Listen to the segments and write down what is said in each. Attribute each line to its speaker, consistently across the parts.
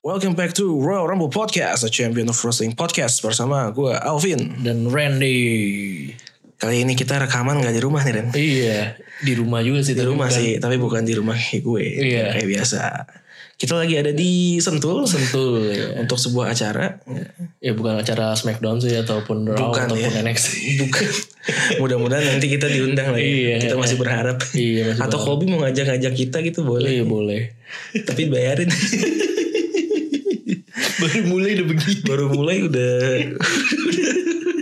Speaker 1: Welcome back to Royal Rumble Podcast, a champion of wrestling podcast bersama gue Alvin.
Speaker 2: Dan Randy.
Speaker 1: Kali ini kita rekaman gak di rumah nih Ren.
Speaker 2: Iya, di rumah juga sih.
Speaker 1: Di
Speaker 2: tapi
Speaker 1: rumah
Speaker 2: bukan
Speaker 1: sih, tapi bukan di rumah kayak gue.
Speaker 2: Iya.
Speaker 1: Kayak biasa. Kita lagi ada di Sentul
Speaker 2: Sentul ya.
Speaker 1: untuk sebuah acara.
Speaker 2: Ya, bukan acara Smackdown sih ataupun Raw
Speaker 1: Bukan,
Speaker 2: ataupun
Speaker 1: ya.
Speaker 2: NXT.
Speaker 1: Bukan. Mudah-mudahan nanti kita diundang lagi.
Speaker 2: Iya.
Speaker 1: Kita masih berharap.
Speaker 2: Iya, masih
Speaker 1: Atau Kobi mau ngajak-ngajak kita gitu boleh.
Speaker 2: Iya boleh.
Speaker 1: Tapi bayarin.
Speaker 2: Baru mulai udah begini.
Speaker 1: Baru mulai udah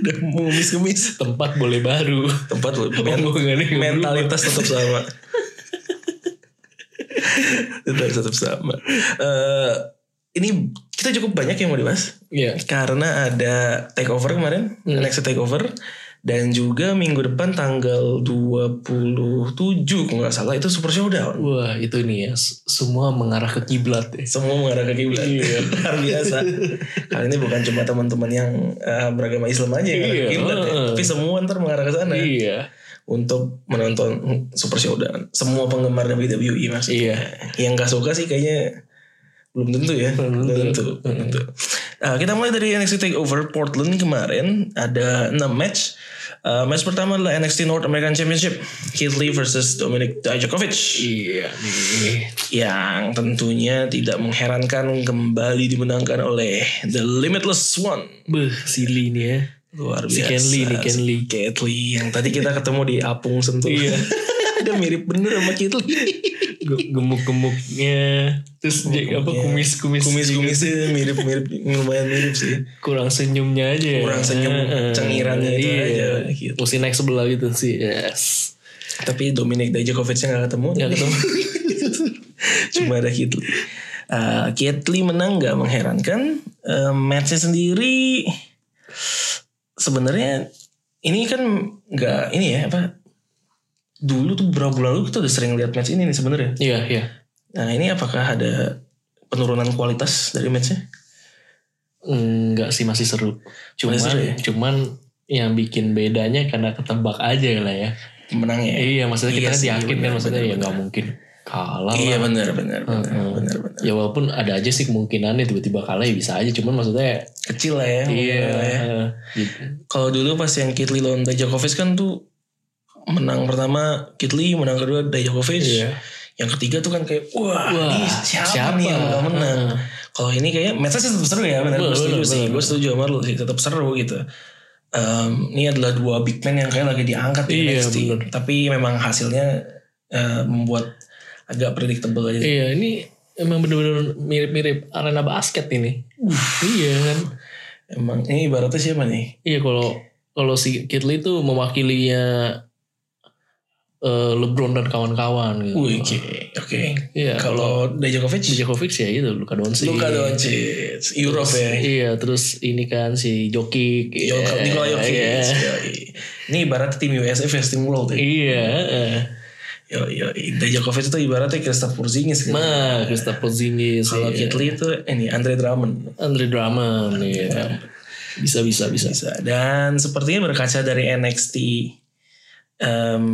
Speaker 1: udah mumis-kemis.
Speaker 2: Tempat boleh baru.
Speaker 1: Tempat lu-
Speaker 2: Oh,
Speaker 1: men-
Speaker 2: Omongannya ke
Speaker 1: mentalitas tetap sama. tetap tetap sama. Eh, ini kita cukup banyak yang mau dibahas.
Speaker 2: Iya.
Speaker 1: Karena ada takeover kemarin,
Speaker 2: Hmm.
Speaker 1: next takeover dan juga minggu depan tanggal 27 kalau nggak salah itu Super Showdown.
Speaker 2: Wah itu nih ya. s- Semua mengarah ke kiblat ya.
Speaker 1: Semua mengarah ke kiblat.
Speaker 2: Iya.
Speaker 1: Luar biasa. Kali ini bukan cuma teman-teman yang eh, beragama Islam aja yang mengarah ke
Speaker 2: Iya,
Speaker 1: kiblat ya.
Speaker 2: heeh.
Speaker 1: Tapi semua ntar mengarah ke sana
Speaker 2: Iya.
Speaker 1: untuk menonton Super Showdown. Semua penggemar WWE maksudnya.
Speaker 2: Iya.
Speaker 1: Yang nggak suka sih kayaknya belum tentu ya.
Speaker 2: Belum tentu.
Speaker 1: Belum tentu. Nah, kita mulai dari NXT Takeover Portland kemarin ada 6 match. Eh, match pertama adalah NXT North American Championship Keith Lee versus Dominic Dijakovic
Speaker 2: Iya nih.
Speaker 1: yang tentunya tidak mengherankan kembali dimenangkan oleh The Limitless One.
Speaker 2: Beh silly nih ya.
Speaker 1: Luar biasa.
Speaker 2: Si Ken Lee nih, Ken
Speaker 1: Si
Speaker 2: Lee.
Speaker 1: Ken Lee yang tadi kita ketemu di Apung Sentul.
Speaker 2: Iya.
Speaker 1: Dia mirip bener sama Ken Lee.
Speaker 2: Ge- Gemuk-gemuknya. Terus dia apa
Speaker 1: Gemuk-gemuknya.
Speaker 2: kumis-kumis.
Speaker 1: Kumis-kumisnya mirip-mirip lumayan mirip sih.
Speaker 2: kurang senyumnya aja ya.
Speaker 1: Kurang senyum,
Speaker 2: Heeh. Iya.
Speaker 1: cengirannya itu aja, gitu.
Speaker 2: mesti naik sebelah gitu sih yes
Speaker 1: Tapi Dominic Dijakovic-nya gak ketemu.
Speaker 2: Nggak ketemu.
Speaker 1: Cuma ada Ken Lee. Eh, Ken Lee menang gak mengherankan. Eh, matchnya sendiri sebenarnya ini kan gak ini ya apa dulu tuh berapa bulan lalu kita udah sering lihat match ini nih sebenarnya.
Speaker 2: iya iya
Speaker 1: Nah ini apakah ada penurunan kualitas dari matchnya?
Speaker 2: enggak sih masih seru cuman
Speaker 1: Masih seru ya?
Speaker 2: cuman yang bikin bedanya karena ketebak aja lah ya
Speaker 1: Menangnya.
Speaker 2: iya maksudnya
Speaker 1: Iya
Speaker 2: kita kan
Speaker 1: sih,
Speaker 2: yakin
Speaker 1: benar,
Speaker 2: kan maksudnya
Speaker 1: benar,
Speaker 2: ya nggak mungkin kalah
Speaker 1: Iya
Speaker 2: lah
Speaker 1: benar benar benar
Speaker 2: Heeh.
Speaker 1: benar benar.
Speaker 2: ya walaupun ada aja sih kemungkinannya tiba-tiba kalah ya bisa aja cuman maksudnya
Speaker 1: Kecil lah ya.
Speaker 2: iya
Speaker 1: mungkin lah ya.
Speaker 2: heeh, gitu.
Speaker 1: Kalau dulu pas yang Kitli lawan Dijakovic kan tuh menang pertama Kitli, menang kedua Dijakovic.
Speaker 2: Iya.
Speaker 1: Yang ketiga tuh kan kayak wah,
Speaker 2: Wah,
Speaker 1: ini siapa,
Speaker 2: siapa?
Speaker 1: nih yang bakal menang.
Speaker 2: Heeh.
Speaker 1: Kalau ini kayak matchnya sih tetap seru ya, benar gue
Speaker 2: Bener,
Speaker 1: setuju
Speaker 2: bener,
Speaker 1: sih,
Speaker 2: bener.
Speaker 1: gue setuju sama lu sih tetap seru gitu. Em, ini adalah dua big man yang kayak lagi diangkat di
Speaker 2: Iya,
Speaker 1: NXT,
Speaker 2: bener.
Speaker 1: tapi memang hasilnya eh, membuat agak predictable aja.
Speaker 2: Iya ini emang bener-bener mirip-mirip arena basket ini. Iya kan.
Speaker 1: Emang ini ibaratnya siapa nih?
Speaker 2: Iya kalau kalau si Kitli itu mewakilinya eh, LeBron dan kawan-kawan gitu.
Speaker 1: Wih, Oke, oke. Ya,
Speaker 2: Iya.
Speaker 1: Kalau Dijakovic,
Speaker 2: Djokovic ya itu Luka Doncic.
Speaker 1: Luka Doncic, Europe ya.
Speaker 2: Iya terus ini kan si Jokic.
Speaker 1: Yo,
Speaker 2: Iya,
Speaker 1: Nikola Jokic.
Speaker 2: Iya.
Speaker 1: Yoi. Ini ibaratnya tim USF versus tim World ya.
Speaker 2: Iya. eh.
Speaker 1: Yo, yo. Dijakovic itu ibaratnya Kristaps Porzingis kan.
Speaker 2: Nah, Kristaps Porzingis.
Speaker 1: Kalau
Speaker 2: iya.
Speaker 1: Kitli itu ini Andre Drummond.
Speaker 2: Andre Drummond. Iya. Bisa bisa bisa.
Speaker 1: Bisa. Dan sepertinya berkaca dari NXT em,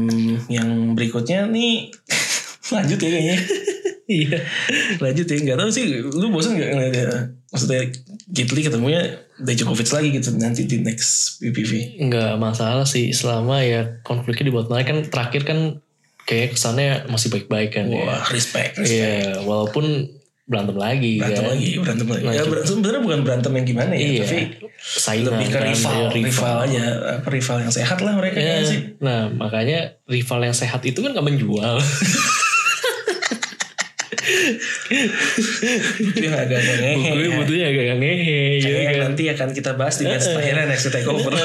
Speaker 1: yang berikutnya nih lanjut ya kayaknya.
Speaker 2: Iya.
Speaker 1: lanjut ya nggak tahu sih lu bosan nggak ngeliatnya maksudnya Kitli ketemunya Dijakovic lagi gitu nanti di next PPV
Speaker 2: nggak masalah sih selama ya konfliknya dibuat naik kan terakhir kan kayak kesannya masih baik-baik kan ya.
Speaker 1: wah respect
Speaker 2: Iya,
Speaker 1: respect
Speaker 2: walaupun berantem lagi
Speaker 1: berantem
Speaker 2: kan.
Speaker 1: lagi berantem lagi ya
Speaker 2: Lanjut.
Speaker 1: ber- sebenarnya bukan berantem yang gimana ya
Speaker 2: Iya.
Speaker 1: tapi
Speaker 2: Saingan
Speaker 1: lebih ke
Speaker 2: kan,
Speaker 1: rival,
Speaker 2: iya,
Speaker 1: rival aja apa rival yang sehat lah mereka
Speaker 2: Iya.
Speaker 1: kayaknya sih
Speaker 2: Nah, makanya rival yang sehat itu kan gak menjual.
Speaker 1: itu yang agak agak ngehe
Speaker 2: Gue
Speaker 1: ya.
Speaker 2: butuhnya agak ngehe gitu
Speaker 1: Kayaknya
Speaker 2: kan. Iya.
Speaker 1: nanti akan kita bahas di match terakhir next takeover
Speaker 2: Eh,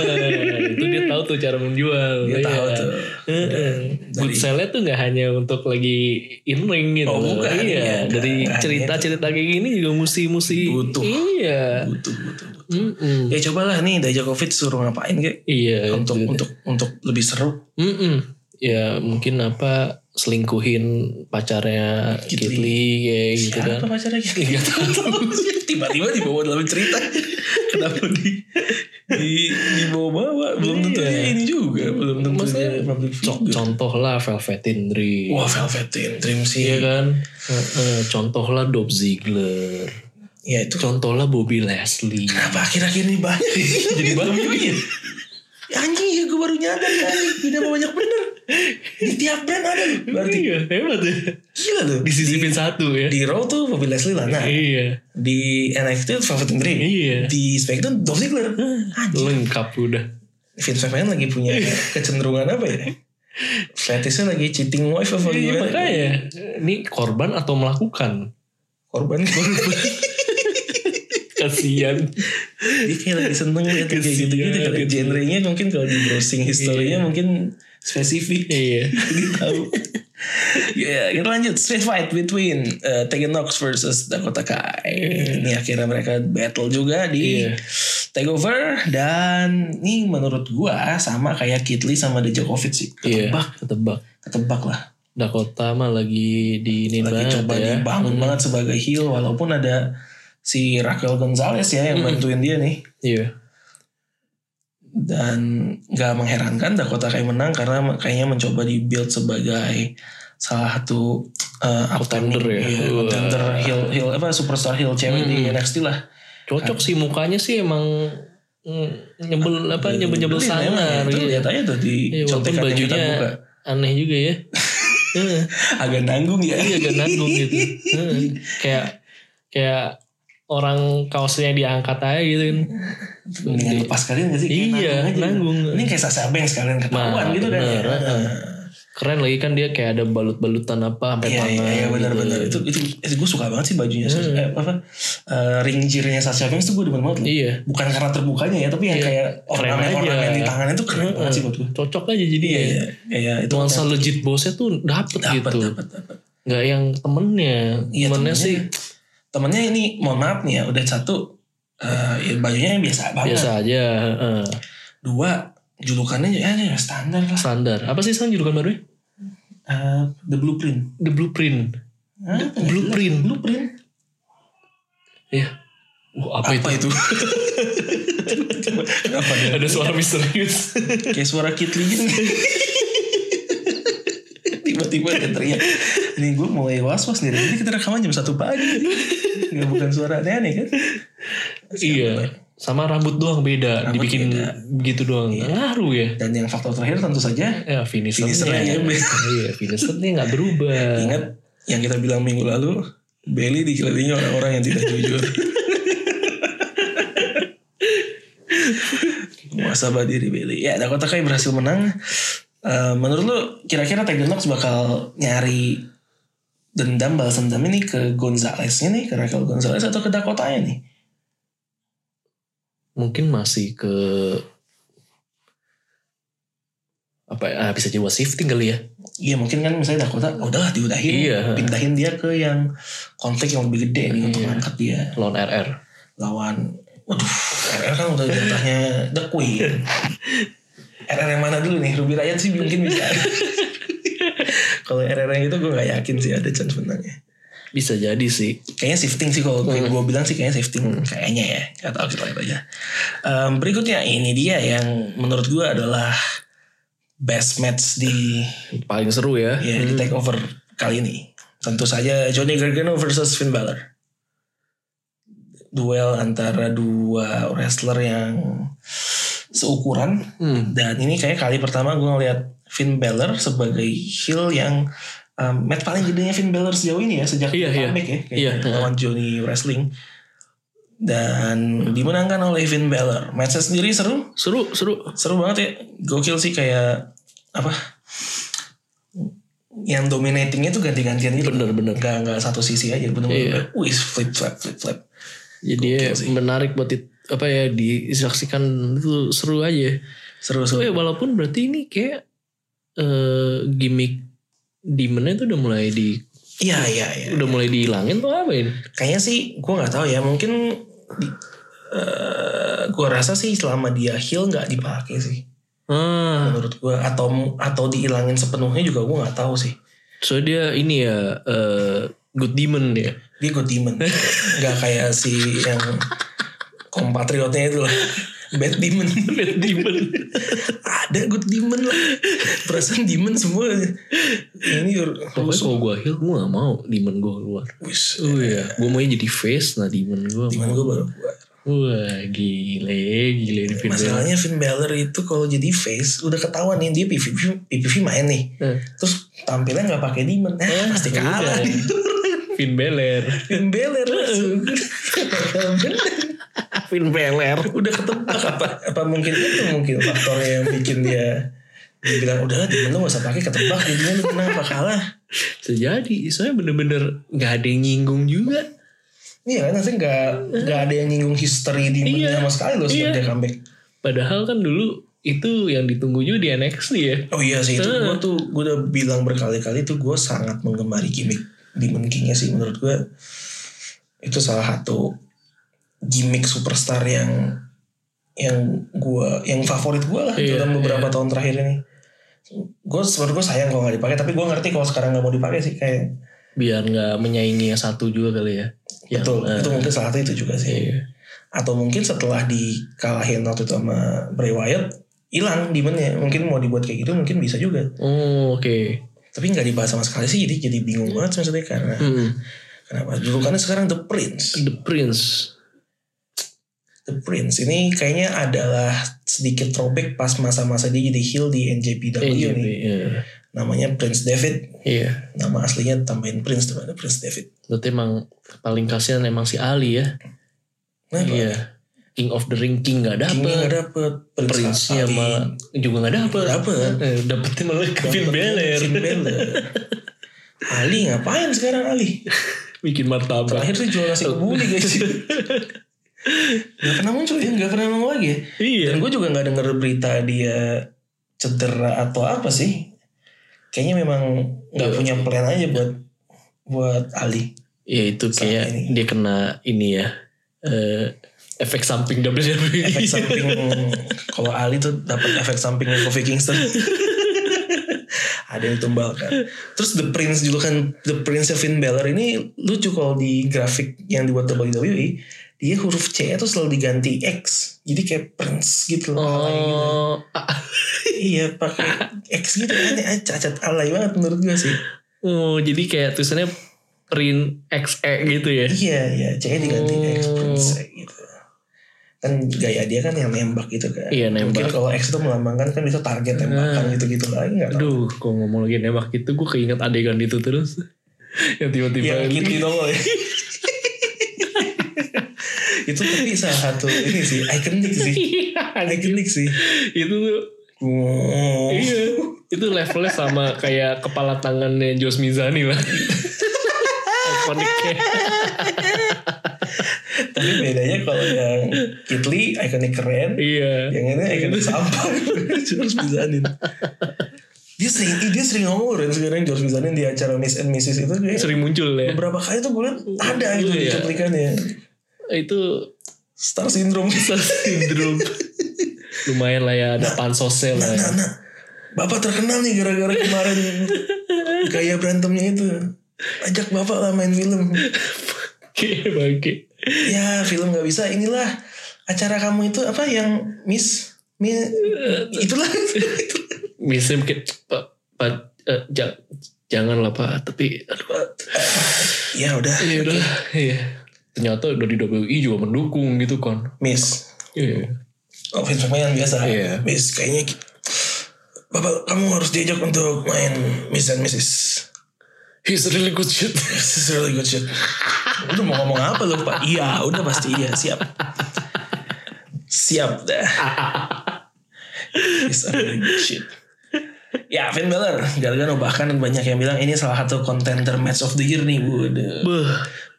Speaker 2: itu dia tahu tuh cara menjual.
Speaker 1: Iya. Dia
Speaker 2: iya.
Speaker 1: tahu tuh.
Speaker 2: Eh, eh. Good sell-nya tuh nggak hanya untuk lagi in ring gitu.
Speaker 1: Oh, bukan, iya.
Speaker 2: Iya, dari
Speaker 1: Nggak hanya
Speaker 2: cerita-cerita kayak gini juga musi-musi.
Speaker 1: Butuh.
Speaker 2: Iya.
Speaker 1: butuh butuh butuh.
Speaker 2: Mm-mm.
Speaker 1: ya cobalah nih Dijakovic suruh ngapain kayak
Speaker 2: Iya.
Speaker 1: untuk
Speaker 2: gitu.
Speaker 1: untuk untuk lebih seru
Speaker 2: Mm-mm. Ya mungkin apa selingkuhin pacarnya
Speaker 1: Kitli.
Speaker 2: Kitli kayak gitu kan.
Speaker 1: Siapa pacarnya Kitli? Tiba-tiba dibawa dalam cerita. Kenapa di di dibawa-bawa? Belum tentu
Speaker 2: Iya.
Speaker 1: dia ini juga. Belum tentu
Speaker 2: Maksudnya,
Speaker 1: dia public
Speaker 2: Co-
Speaker 1: figure.
Speaker 2: Contoh lah Velvetin Dream. kan?
Speaker 1: Wah Velveteen Dream sih.
Speaker 2: Iya kan? Heeh, Contoh lah Dolph Ziggler.
Speaker 1: Ya itu
Speaker 2: Contoh lah Bobby Leslie.
Speaker 1: kenapa akhir-akhir ini banyak
Speaker 2: Jadi banyak
Speaker 1: ya. Anjing ya gue baru nyadar ya anjing Kenapa banyak bener Di tiap brand ada loh Berarti
Speaker 2: Iya, hebat ya.
Speaker 1: gila tuh
Speaker 2: Disisipin satu ya.
Speaker 1: Di Raw tuh Bobby Leslie lah Nah
Speaker 2: Iya,
Speaker 1: di NXT Velvet Dream
Speaker 2: Iya.
Speaker 1: Di SmackDown Dolph Ziggler Anjing
Speaker 2: lengkap udah.
Speaker 1: Vince McMahon lagi punya
Speaker 2: Iya.
Speaker 1: kecenderungan apa ya Fetishnya lagi cheating wife apa
Speaker 2: Iya,
Speaker 1: gimana
Speaker 2: makanya ini korban atau melakukan?
Speaker 1: Korban
Speaker 2: Kasihan.
Speaker 1: Dia Iya, kayak lagi seneng liat kayak gitu-gitu
Speaker 2: Kesian,
Speaker 1: Kalau
Speaker 2: gitu.
Speaker 1: genre-nya mungkin kalau di browsing historinya mungkin spesifik
Speaker 2: iya.
Speaker 1: Jadi tahu. ya, kita lanjut street fight between uh, Tegan Nox versus Dakota Kai. Ini akhirnya mereka battle juga di
Speaker 2: Iya.
Speaker 1: Takeover dan ini menurut gua sama kayak Kitli sama The Djokovic sih.
Speaker 2: Iya.
Speaker 1: Ketebak,
Speaker 2: Ketebak.
Speaker 1: ketebak lah.
Speaker 2: Dakota mah lagi di ini
Speaker 1: Lagi
Speaker 2: banget
Speaker 1: coba
Speaker 2: ya.
Speaker 1: dibangun banget sebagai heel walaupun ada si Raquel Gonzalez ya
Speaker 2: Hmm.
Speaker 1: yang bantuin dia nih.
Speaker 2: Iya.
Speaker 1: dan nggak mengherankan Dakota Kai menang karena kayaknya mencoba dibuild sebagai salah satu eh, upcoming-
Speaker 2: Contender ya?
Speaker 1: iya,
Speaker 2: Wah. Hmm.
Speaker 1: contender heel heel apa superstar heel cewek di NXT lah Ah.
Speaker 2: Cocok sih mukanya sih emang mm, nyebel apa
Speaker 1: iya,
Speaker 2: nyebel nyebel
Speaker 1: Gitu. Beli,
Speaker 2: sangar
Speaker 1: memang. itu
Speaker 2: gitu.
Speaker 1: lihat aja tuh di
Speaker 2: Iya, walaupun
Speaker 1: contekan yang kita
Speaker 2: bajunya
Speaker 1: buka
Speaker 2: aneh juga ya. Heeh.
Speaker 1: agak nanggung ya
Speaker 2: Iya agak nanggung gitu. Heeh. kayak kayak orang kaosnya diangkat aja gitu kan.
Speaker 1: mendingan lepas kalian gak sih Kayak
Speaker 2: Iya,
Speaker 1: aja.
Speaker 2: nanggung.
Speaker 1: ini kayak Sasha Banks kalian ketahuan
Speaker 2: Nah,
Speaker 1: gitu kan ya.
Speaker 2: bener, heeh. Keren lagi kan dia kayak ada balut-balutan apa sampai
Speaker 1: Iya,
Speaker 2: tangan. gitu.
Speaker 1: iya, iya, benar-benar itu itu, itu gue suka banget sih bajunya
Speaker 2: Hmm.
Speaker 1: Sasha- eh, apa eh, ring jirnya Sasha Banks tuh gue demen banget loh.
Speaker 2: Iya.
Speaker 1: bukan karena terbukanya ya tapi yang kayak ornamen ornamen
Speaker 2: aja.
Speaker 1: di tangannya tuh keren banget sih buat gue
Speaker 2: Cocok aja jadi
Speaker 1: iya
Speaker 2: ya.
Speaker 1: iya iya itu
Speaker 2: Nuansa legit bosnya tuh dapet,
Speaker 1: dapat
Speaker 2: gitu.
Speaker 1: dapat dapat
Speaker 2: Nggak yang temennya.
Speaker 1: Iya,
Speaker 2: temennya,
Speaker 1: temennya
Speaker 2: sih
Speaker 1: temennya ini mohon maaf nih ya udah satu eh, ya bajunya yang biasa banget
Speaker 2: biasa aja. heeh.
Speaker 1: dua julukannya ya, ya standar lah
Speaker 2: Standar. Apa sih sekarang julukan barunya?
Speaker 1: Eh, the blueprint
Speaker 2: The Blueprint.
Speaker 1: Hah?
Speaker 2: Blueprint.
Speaker 1: blueprint
Speaker 2: Iya. Wah, apa,
Speaker 1: apa, itu,
Speaker 2: itu?
Speaker 1: Kenapa dia?
Speaker 2: Ada suara misterius.
Speaker 1: kayak suara Kitli gitu tiba-tiba dia teriak ini gue mulai was-was nih ini kita rekaman jam 1 pagi nggak bukan suara aneh-aneh kan
Speaker 2: iya. Sama rambut doang beda,
Speaker 1: Rambut beda.
Speaker 2: dibikin
Speaker 1: Iya.
Speaker 2: begitu doang. Ngaruh ya.
Speaker 1: dan yang faktor terakhir tentu saja
Speaker 2: Ya
Speaker 1: Finishernya
Speaker 2: finishernya.
Speaker 1: aja.
Speaker 2: iya, finishernya nggak berubah.
Speaker 1: ingat yang kita bilang minggu lalu Bailey dikelilingi orang-orang yang tidak jujur Muasabah diri Bailey Ya Dakota Kai berhasil menang Eh, Menurut lu kira-kira Tegan Nox bakal nyari Dendam balas dendam ini ke Gonzalez-nya nih Ke Raquel Gonzalez atau ke Dakota nya nih
Speaker 2: Mungkin masih ke apa ya, ah, bisa jadi was shifting kali ya.
Speaker 1: Iya mungkin kan misalnya Dakota oh, Udahlah diudahin
Speaker 2: Iya.
Speaker 1: Pindahin dia ke yang Konflik yang lebih gede nih Untuk
Speaker 2: Iya.
Speaker 1: angkat dia
Speaker 2: Lawan RR.
Speaker 1: lawan waduh RR kan udah jatahnya The Queen RR yang mana dulu nih Ruby Ryan sih mungkin bisa kalau RR yang itu gue gak yakin sih ada chance menangnya
Speaker 2: Bisa jadi sih.
Speaker 1: kayaknya shifting sih kalau gue gue bilang sih kayaknya shifting kayaknya ya gak tau kita lihat aja Em, berikutnya ini dia yang menurut gue adalah best match di
Speaker 2: Paling seru ya.
Speaker 1: ya di takeover kali ini tentu saja Johnny Gargano versus Finn Balor duel antara dua wrestler yang seukuran
Speaker 2: Hmm.
Speaker 1: dan ini kayak kali pertama gue ngeliat Finn Balor sebagai heel yang um, match paling gedenya Finn Balor sejauh ini ya sejak
Speaker 2: Iya, iya.
Speaker 1: comeback ya
Speaker 2: Iya,
Speaker 1: kayaknya
Speaker 2: iya.
Speaker 1: lawan Johnny Wrestling dan dimenangkan oleh Finn Balor matchnya sendiri seru
Speaker 2: Seru, seru.
Speaker 1: seru banget ya gokil sih kayak apa yang dominatingnya tuh ganti-gantian gitu
Speaker 2: Bener, bener. Iya.
Speaker 1: nggak nggak satu sisi aja bener-bener wih flip flap flip flap
Speaker 2: Jadi ya, menarik buat di- apa ya disaksikan itu seru aja.
Speaker 1: seru
Speaker 2: So, ya
Speaker 1: seru
Speaker 2: walaupun berarti ini kayak eh gimmick demonnya itu udah mulai di
Speaker 1: iya iya iya
Speaker 2: udah mulai dihilangin tuh apa ini?
Speaker 1: kayaknya sih gue nggak tahu ya mungkin eh gue rasa sih selama dia heal nggak dipakai sih
Speaker 2: Ah,
Speaker 1: menurut gue atau atau dihilangin sepenuhnya juga gue nggak tahu sih
Speaker 2: so dia ini ya eh good demon ya.
Speaker 1: dia good demon nggak kayak si yang kompatriotnya itu lah bad demon
Speaker 2: Bad Demon.
Speaker 1: ada good demon lah perasaan demon semua ini
Speaker 2: Pokoknya
Speaker 1: harus
Speaker 2: kalau gue heal gue gak mau demon gue keluar.
Speaker 1: wis
Speaker 2: Oh iya. Gue maunya jadi face nah demon gue.
Speaker 1: demon gue baru keluar
Speaker 2: Wah gile gile di film.
Speaker 1: masalahnya Finn Balor itu kalau jadi face udah ketahuan nih dia PvP PvP main nih
Speaker 2: Eh.
Speaker 1: terus tampilnya nggak pakai demon ah, pasti kalah
Speaker 2: iya.
Speaker 1: nih
Speaker 2: Finn Balor.
Speaker 1: Finn Balor langsung.
Speaker 2: Finn Balor.
Speaker 1: udah ketebak apa apa mungkin itu mungkin faktornya yang bikin dia dibilang udah demon lu gak usah pakai ketebak jadinya lu kenapa kalah
Speaker 2: Bisa jadi. Soalnya bener-bener gak ada yang nyinggung juga.
Speaker 1: Iya kan maksudnya nggak nggak ada yang nyinggung history di
Speaker 2: Iya.
Speaker 1: sama sekali loh sejak
Speaker 2: Iya.
Speaker 1: dia comeback.
Speaker 2: Padahal kan dulu itu yang ditunggu juga di NXT ya.
Speaker 1: Oh iya sih itu gue tuh gue udah bilang berkali-kali tuh gue sangat menggemari gimmick Demon King-nya sih menurut gue itu salah satu gimmick superstar yang yang gue yang favorit gue lah
Speaker 2: Iya,
Speaker 1: dalam beberapa tahun terakhir ini. Gue sebenarnya gue sayang kalau nggak dipakai tapi gue ngerti kalau sekarang nggak mau dipakai sih kayak
Speaker 2: Biar gak menyaingi yang satu juga kali ya. Yang,
Speaker 1: betul
Speaker 2: eh,
Speaker 1: itu mungkin salah satu itu juga sih.
Speaker 2: iya.
Speaker 1: atau mungkin setelah dikalahin waktu itu sama Bray Wyatt hilang demonnya mungkin mau dibuat kayak gitu mungkin bisa juga
Speaker 2: Oh oke.
Speaker 1: tapi nggak dibahas sama sekali sih jadi jadi bingung banget maksudnya karena
Speaker 2: Hmm.
Speaker 1: kenapa julukannya sekarang The Prince
Speaker 2: The Prince.
Speaker 1: The Prince ini kayaknya adalah sedikit throwback pas masa-masa dia jadi heel di NJPW
Speaker 2: AJB.
Speaker 1: nih
Speaker 2: Iya.
Speaker 1: namanya Prince David
Speaker 2: Iya.
Speaker 1: nama aslinya tambahin Prince depannya Prince David
Speaker 2: Berarti emang paling kasihan emang si Ali ya.
Speaker 1: nah
Speaker 2: Iya. King of the Ring King gak
Speaker 1: King nggak
Speaker 2: dapet.
Speaker 1: dapet Prince,
Speaker 2: Prince-nya
Speaker 1: Ali.
Speaker 2: malah juga gak dapet.
Speaker 1: Nggak dapet.
Speaker 2: Eh, Dapetnya malah ke Finn Balor.
Speaker 1: Finn Balor. Ali ngapain sekarang Ali
Speaker 2: Bikin martabak.
Speaker 1: Terakhir sih jual nasi kebuli guys. gak pernah muncul ya, gak pernah ngomong lagi ya. Dan
Speaker 2: Iya.
Speaker 1: gue juga gak denger berita dia cedera atau apa sih. Kayaknya memang gak
Speaker 2: Iya.
Speaker 1: punya plan aja buat buat Ali.
Speaker 2: Ya itu
Speaker 1: Saat
Speaker 2: kayak
Speaker 1: ini.
Speaker 2: dia kena ini ya. eh, efek samping E. WWE.
Speaker 1: Efek samping kalau Ali tuh dapat efek sampingnya Kofi Kingston. ada yang tumbalkan. Terus The Prince julukan The Prince of Finn Balor ini lucu kalau di grafik yang dibuat WWE dia huruf C itu selalu diganti X jadi kayak Prince gitu loh alay gitu.
Speaker 2: Oh, ah,
Speaker 1: iya pakai X gitu aneh aneh, cacat alay banget menurut gue sih
Speaker 2: oh, jadi kayak tulisannya print XE gitu ya.
Speaker 1: iya iya C diganti X
Speaker 2: Oh.
Speaker 1: Prince gitu kan gaya dia kan yang nembak gitu kan
Speaker 2: Iya, nembak. Nah.
Speaker 1: mungkin kalau X itu melambangkan kan itu target tembakan gitu gitu lagi nggak tahu
Speaker 2: Aduh, kok ngomong lagi nembak gitu, gue keinget adegan itu terus. yang tiba-tiba
Speaker 1: yang gitu dong ya itu tapi salah satu ini sih ikonik sih
Speaker 2: Iya, anjing.
Speaker 1: ikonik sih
Speaker 2: itu tuh,
Speaker 1: Oh.
Speaker 2: iya, itu levelnya sama kayak kepala tangannya Jos Mizani lah. Ikoniknya.
Speaker 1: tapi bedanya kalau yang Kitli ikonik keren
Speaker 2: Iya.
Speaker 1: yang ini ikonik sampah George Bizanin dia sering dia sering ngomong kan sekarang George Bizanin di acara Miss and Mrs itu kayak
Speaker 2: Sering muncul ya.
Speaker 1: beberapa kali tuh gue liat ada gitu
Speaker 2: Iya.
Speaker 1: di cuplikannya
Speaker 2: Itu
Speaker 1: Star Syndrome
Speaker 2: Star syndrome. Lumayan lah ya ada pansosnya lah.
Speaker 1: nah,
Speaker 2: Ya.
Speaker 1: nah, nah. Bapak terkenal nih gara-gara kemarin gaya berantemnya itu ajak bapak lah main film
Speaker 2: Oke, bangke.
Speaker 1: ya film nggak bisa inilah acara kamu itu apa yang Miss Miss itulah
Speaker 2: Misalnya mungkin Pak, Pak, eh, ja- jangan lah Pak, tapi aduh,
Speaker 1: ya udah
Speaker 2: ya udah, iya. Ternyata dari WI juga mendukung gitu kan.
Speaker 1: Miss
Speaker 2: Iya.
Speaker 1: Oh, Vince McMahon biasa.
Speaker 2: Iya.
Speaker 1: Miss, kayaknya ki- Bapak kamu harus diajak untuk main Miss and Mrs.
Speaker 2: He's really good shit.
Speaker 1: This is really good shit. Udah mau ngomong apa lu, Pak? Iya, udah pasti iya, siap. Siap dah. This is really good shit. Ya, Finn Balor, Gargano bahkan banyak yang bilang ini salah satu contender match of the year nih, Bu.
Speaker 2: Beuh,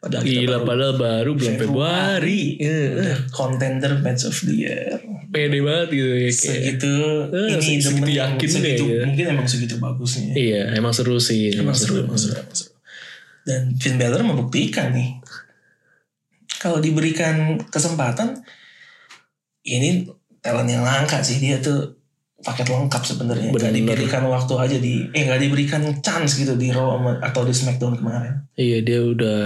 Speaker 1: Padahal kita
Speaker 2: gila padahal baru bulan Februari. Iya.
Speaker 1: contender match of the year.
Speaker 2: Pede banget gitu ya. kayak.
Speaker 1: segitu
Speaker 2: Eh,
Speaker 1: ini
Speaker 2: segitu
Speaker 1: demen yang
Speaker 2: yakinnya
Speaker 1: segitu
Speaker 2: ya.
Speaker 1: mungkin emang segitu bagusnya
Speaker 2: Iya, emang seru sih.
Speaker 1: emang seru iya. emang seru emang seru dan Finn Balor membuktikan nih kalau diberikan kesempatan ini talent yang langka sih dia tuh paket lengkap sebenarnya nggak
Speaker 2: Bener.
Speaker 1: diberikan waktu aja di eh nggak diberikan chance gitu di Raw sama- atau di Smackdown kemarin
Speaker 2: Iya, dia udah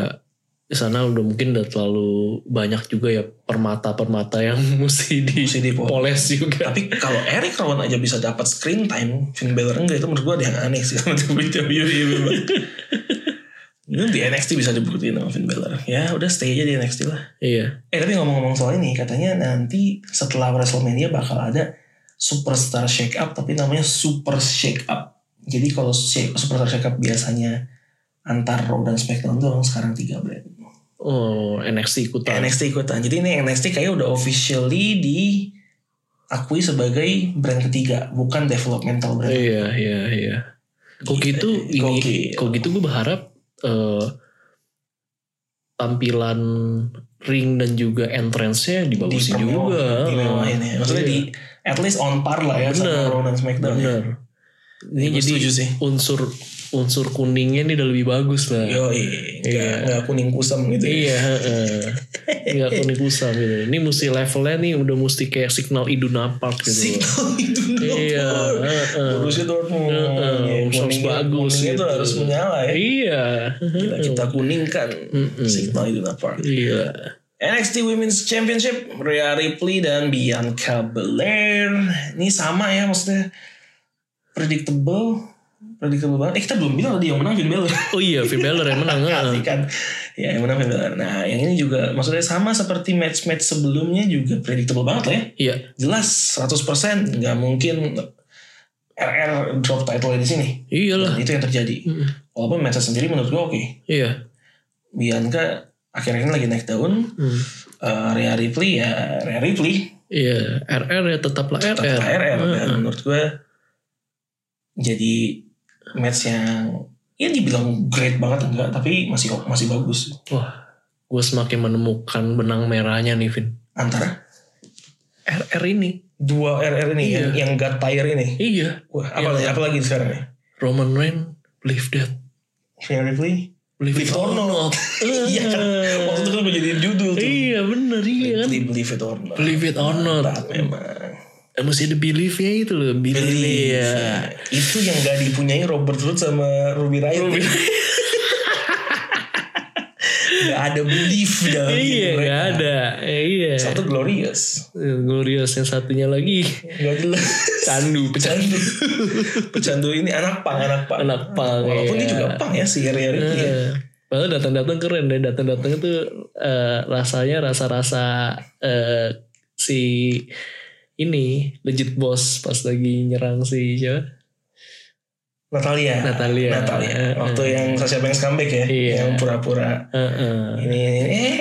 Speaker 2: di sana udah mungkin udah terlalu banyak juga ya permata-permata yang mesti
Speaker 1: Mesti dipoles.
Speaker 2: dipoles juga.
Speaker 1: Tapi kalau Eric Rowan aja bisa dapat screen time, Finn Balor enggak itu menurut gue ada yang aneh sih sama WWE memang. Mungkin di NXT bisa dibuktiin sama Finn Balor. Ya udah stay aja di NXT lah.
Speaker 2: Iya.
Speaker 1: Eh tapi ngomong-ngomong soal ini, katanya nanti setelah WrestleMania bakal ada Superstar Shake Up, tapi namanya Super Shake Up. Jadi kalau shake- Superstar Shake Up biasanya antar Raw dan SmackDown doang sekarang tiga brand.
Speaker 2: Oh, NXT ikutan.
Speaker 1: NXT ikutan. Jadi ini NXT kayak udah officially diakui sebagai brand ketiga, bukan developmental brand.
Speaker 2: Iya, iya, iya. Kok
Speaker 1: iya,
Speaker 2: gitu ini
Speaker 1: Gokil.
Speaker 2: kok gitu gue berharap eh, tampilan ring dan juga entrance-nya dibagusin
Speaker 1: Dipermewah,
Speaker 2: juga.
Speaker 1: dimewahin ya. Maksudnya
Speaker 2: Iya.
Speaker 1: di at least on par lah ya
Speaker 2: Bener.
Speaker 1: sama Raw dan SmackDown. ya.
Speaker 2: Bener. Ini
Speaker 1: Gue
Speaker 2: jadi
Speaker 1: setuju sih.
Speaker 2: unsur unsur kuningnya ini udah lebih bagus lah.
Speaker 1: Yo,
Speaker 2: Iya.
Speaker 1: iya. Gak, kuning kusam gitu ya.
Speaker 2: Iya, heeh. nggak kuning kusam gitu. Ini mesti levelnya nih udah mesti kayak signal Iduna Park gitu. loh.
Speaker 1: Signal itu
Speaker 2: Iya, heeh.
Speaker 1: Borussia Dortmund.
Speaker 2: Heeh,
Speaker 1: Ya,
Speaker 2: harus
Speaker 1: kuningnya-
Speaker 2: bagus
Speaker 1: kuningnya
Speaker 2: gitu.
Speaker 1: tuh harus menyala ya.
Speaker 2: Iya,
Speaker 1: Gila, kita kuningkan
Speaker 2: Mm-mm.
Speaker 1: signal itu apa?
Speaker 2: iya.
Speaker 1: NXT Women's Championship Rhea Ripley dan Bianca Belair ini sama ya maksudnya predictable predictable banget eh kita belum bilang tadi yang menang Finn Balor
Speaker 2: Oh iya, Finn Balor yang menang. heeh.
Speaker 1: Asik kan ya yang menang Finn Balor nah yang ini juga maksudnya sama seperti match-match sebelumnya juga predictable banget lah ya
Speaker 2: Iya,
Speaker 1: jelas 100% nggak mungkin RR drop title di sini Dan
Speaker 2: iyalah.
Speaker 1: itu yang terjadi
Speaker 2: Mm-mm.
Speaker 1: walaupun match sendiri menurut gue oke
Speaker 2: Iya.
Speaker 1: Bianca akhirnya lagi naik daun
Speaker 2: Hmm.
Speaker 1: Eh, Rhea Ripley ya Rhea Ripley
Speaker 2: Iya, RR ya tetaplah
Speaker 1: tetap
Speaker 2: RR.
Speaker 1: RR dan
Speaker 2: Heeh.
Speaker 1: menurut gue jadi match yang ya dibilang great banget enggak tapi masih masih bagus
Speaker 2: Gue semakin menemukan benang merahnya nih, Vin.
Speaker 1: antara
Speaker 2: RR ini.
Speaker 1: dua RR ini
Speaker 2: Iya.
Speaker 1: yang yang got tire ini
Speaker 2: Iya.
Speaker 1: wah apalagi
Speaker 2: Iya.
Speaker 1: apalagi sekarang ya
Speaker 2: Roman Reign, believe that.
Speaker 1: Rhea Ripley
Speaker 2: Believe,
Speaker 1: Believe
Speaker 2: it
Speaker 1: it
Speaker 2: or
Speaker 1: or
Speaker 2: not. Eh.
Speaker 1: Iya kan. Waktu itu kan gue jadiin judul tuh.
Speaker 2: Iya, bener. Iya kan.
Speaker 1: Believe, believe it or not.
Speaker 2: Believe it or not.
Speaker 1: Berat memang.
Speaker 2: Eh, Mesti ada believe-nya itu loh. Believe.
Speaker 1: Believe.
Speaker 2: ya.
Speaker 1: Itu yang gak dipunyai Robert Root sama Ruby Riot. gak ada belief dalam
Speaker 2: Iya,
Speaker 1: hidup
Speaker 2: gak
Speaker 1: mereka.
Speaker 2: ada. Eh, Iya.
Speaker 1: Satu glorious.
Speaker 2: Glorious yang satunya lagi.
Speaker 1: Gak jelas.
Speaker 2: Candu, pecandu.
Speaker 1: Pecandu. Pecandu ini anak pang, anak pang.
Speaker 2: Anak pang,
Speaker 1: Walaupun
Speaker 2: iya.
Speaker 1: dia juga pang ya si Ria Ripley. ya.
Speaker 2: Eh, Padahal datang-datang keren deh. Datang-datang itu eh, rasanya rasa-rasa eh, si ini legit boss pas lagi nyerang si siapa?
Speaker 1: Natalia.
Speaker 2: Natalia.
Speaker 1: Natalia.
Speaker 2: Eh,
Speaker 1: Waktu
Speaker 2: eh.
Speaker 1: yang Sasha Banks comeback ya.
Speaker 2: Iya.
Speaker 1: Yang pura-pura.
Speaker 2: Heeh.
Speaker 1: Ini, ini, eh.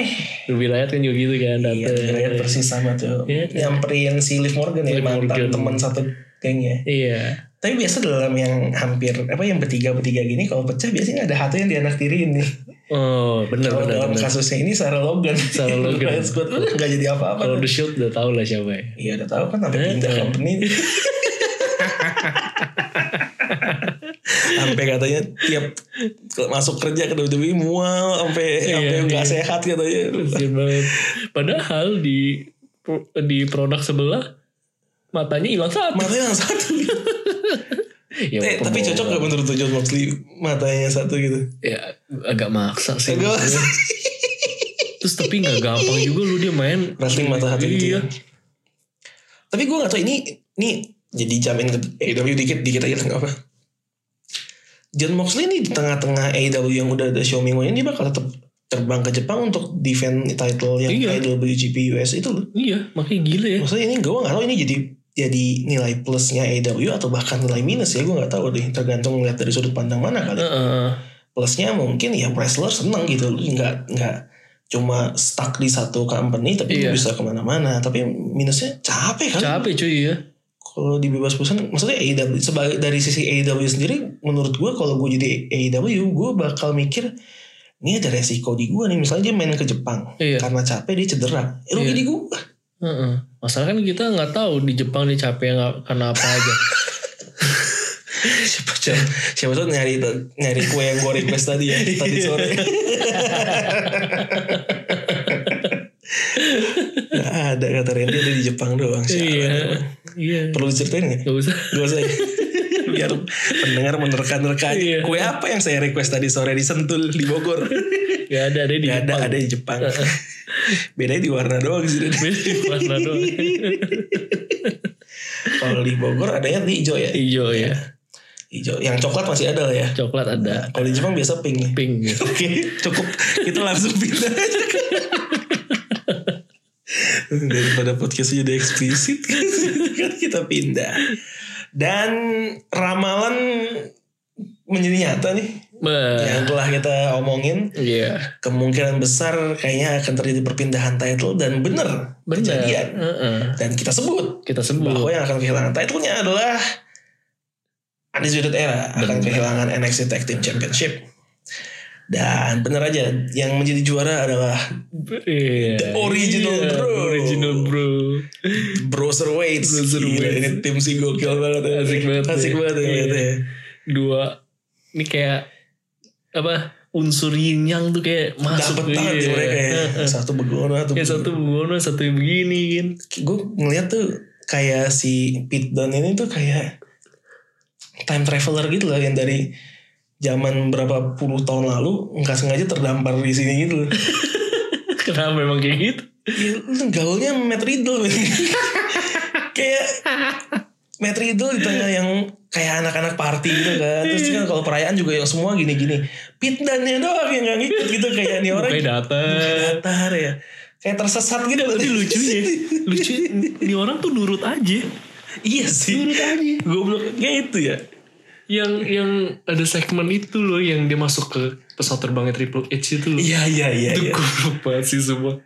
Speaker 2: Ruby Riot kan juga gitu kan
Speaker 1: Iya,
Speaker 2: datang.
Speaker 1: Riot persis sama tuh.
Speaker 2: Iya, iya.
Speaker 1: Nyamperin si Liv Morgan ya,
Speaker 2: Liv Morgan.
Speaker 1: mantan teman satu gengnya.
Speaker 2: Iya.
Speaker 1: Tapi biasa dalam yang hampir apa yang bertiga bertiga gini, kalau pecah biasanya ada satu yang dianak tiriin nih.
Speaker 2: Oh, benar
Speaker 1: Kalau
Speaker 2: benar.
Speaker 1: dalam
Speaker 2: benar.
Speaker 1: kasusnya ini Sarah Logan,
Speaker 2: Sarah Logan.
Speaker 1: Riot Squad udah nggak jadi apa-apa.
Speaker 2: Kalau
Speaker 1: tuh.
Speaker 2: The Shield udah tau lah siapa ya.
Speaker 1: Iya udah tahu kan sampai
Speaker 2: Eh,
Speaker 1: pindah
Speaker 2: eh.
Speaker 1: company. sampai katanya tiap masuk kerja ke WWE mual sampai
Speaker 2: Iya,
Speaker 1: sampai nggak
Speaker 2: iya.
Speaker 1: sehat katanya.
Speaker 2: Kasian banget. Padahal di di produk sebelah matanya hilang satu.
Speaker 1: Matanya yang satu. Eh,
Speaker 2: Ya, walaupun
Speaker 1: tapi
Speaker 2: bohong.
Speaker 1: cocok gak menurut lo John Moxley matanya satu gitu?
Speaker 2: Ya agak maksa sih.
Speaker 1: Agak maksa.
Speaker 2: Terus tapi nggak gampang juga lu dia main.
Speaker 1: Wrestling mata satu gitu
Speaker 2: Iya.
Speaker 1: ya. Tapi gue gak tau ini ini jadi jamin ke AEW dikit dikit aja nggak apa. John Moxley ini di tengah-tengah AEW yang udah ada show minggu ini dia bakal tetap terbang ke Jepang untuk defend title yang
Speaker 2: Iya.
Speaker 1: IWGP US itu loh.
Speaker 2: Iya, makanya gila ya.
Speaker 1: Maksudnya ini gue gak tau ini jadi jadi nilai plusnya AEW atau bahkan nilai minus ya gue gak tahu deh tergantung ngeliat dari sudut pandang mana kali. ya.
Speaker 2: Heeh.
Speaker 1: plusnya mungkin ya wrestler seneng gitu lu nggak nggak cuma stuck di satu company tapi lu
Speaker 2: Iya.
Speaker 1: bisa kemana-mana tapi minusnya capek kan
Speaker 2: Capek cuy ya.
Speaker 1: kalau dibebas pesan maksudnya AEW sebagai dari sisi AEW sendiri menurut gue kalau gue jadi AEW gue bakal mikir ini ada resiko di gue nih misalnya dia main ke Jepang
Speaker 2: Iya.
Speaker 1: karena capek dia cedera ya rugi
Speaker 2: Iya.
Speaker 1: di gue
Speaker 2: Heeh. Masalah kan kita nggak tahu di Jepang dia capek nggak karena apa aja.
Speaker 1: siapa siapa, siapa tuh nyari nyari kue yang gue request tadi ya tadi sore Gak ada kata Randy ada di Jepang doang sialan.
Speaker 2: iya. Iya.
Speaker 1: perlu diceritain nggak?
Speaker 2: Gak usah.
Speaker 1: Gak usah ya? biar pendengar menerka-nerka aja.
Speaker 2: Iya.
Speaker 1: kue apa yang saya request tadi sore di Sentul di Bogor
Speaker 2: Gak ada deh di
Speaker 1: Gak ada, ada di Jepang. Bedanya di warna doang sih. Dede.
Speaker 2: Beda di warna doang.
Speaker 1: Kalau di Bogor adanya di hijau ya.
Speaker 2: Hijau ya.
Speaker 1: Hijau. Yang coklat masih ada lah ya.
Speaker 2: Coklat ada.
Speaker 1: Kalau di Jepang biasa pink. nih.
Speaker 2: Pink. gitu.
Speaker 1: Oke, cukup. Kita langsung pindah aja. Daripada podcast jadi eksplisit kan kita pindah. Dan ramalan menjadi nyata nih
Speaker 2: Bah,
Speaker 1: yang telah kita omongin
Speaker 2: Iya.
Speaker 1: kemungkinan besar kayaknya akan terjadi perpindahan title dan bener,
Speaker 2: Benar.
Speaker 1: kejadian
Speaker 2: Heeh.
Speaker 1: dan kita sebut
Speaker 2: Kita sebut.
Speaker 1: bahwa yang akan kehilangan titlenya adalah Undisputed Era akan
Speaker 2: Bener.
Speaker 1: kehilangan NXT Tag Team Championship dan bener aja yang menjadi juara adalah
Speaker 2: Iya.
Speaker 1: The original
Speaker 2: Iya,
Speaker 1: bro.
Speaker 2: Original bro.
Speaker 1: Browserweights
Speaker 2: Bruiserweights.
Speaker 1: ini tim si gokil banget ya.
Speaker 2: Asik banget
Speaker 1: asik
Speaker 2: ya.
Speaker 1: banget ya,
Speaker 2: Iya.
Speaker 1: liatnya ya.
Speaker 2: Dua. Ini kayak apa? Unsur yin yang tuh kayak
Speaker 1: dapet
Speaker 2: masuk.
Speaker 1: banget ya
Speaker 2: Iya.
Speaker 1: mereka ya.
Speaker 2: Heeh.
Speaker 1: satu begono satu
Speaker 2: Kayak satu bono, satu begini kan.
Speaker 1: gue ngeliat tuh kayak si Pete Dunne ini tuh kayak time traveler gitu loh yang dari zaman berapa puluh tahun lalu nggak sengaja terdampar di sini gitu loh.
Speaker 2: Kenapa memang kayak gitu?
Speaker 1: Ya, lu gaulnya sama Matt Riddle men. kayak Matt Riddle di tengah yang kayak anak-anak party gitu kan terus
Speaker 2: Iya.
Speaker 1: kan kalau perayaan juga yang semua gini-gini Pete Dunne doang yang nggak ngikut gitu kayak nih orang
Speaker 2: Kayak datang.
Speaker 1: datar ya kayak tersesat gitu
Speaker 2: Tapi lucu ya. Lucu. Ini orang tuh nurut aja.
Speaker 1: iya sih
Speaker 2: Nurut aja.
Speaker 1: gobloknya itu ya
Speaker 2: Yang yang ada segmen itu loh yang dia masuk ke pesawat terbangnya Triple H itu loh.
Speaker 1: Iya iya iya.
Speaker 2: Itu
Speaker 1: iya.
Speaker 2: goblok banget sih semua.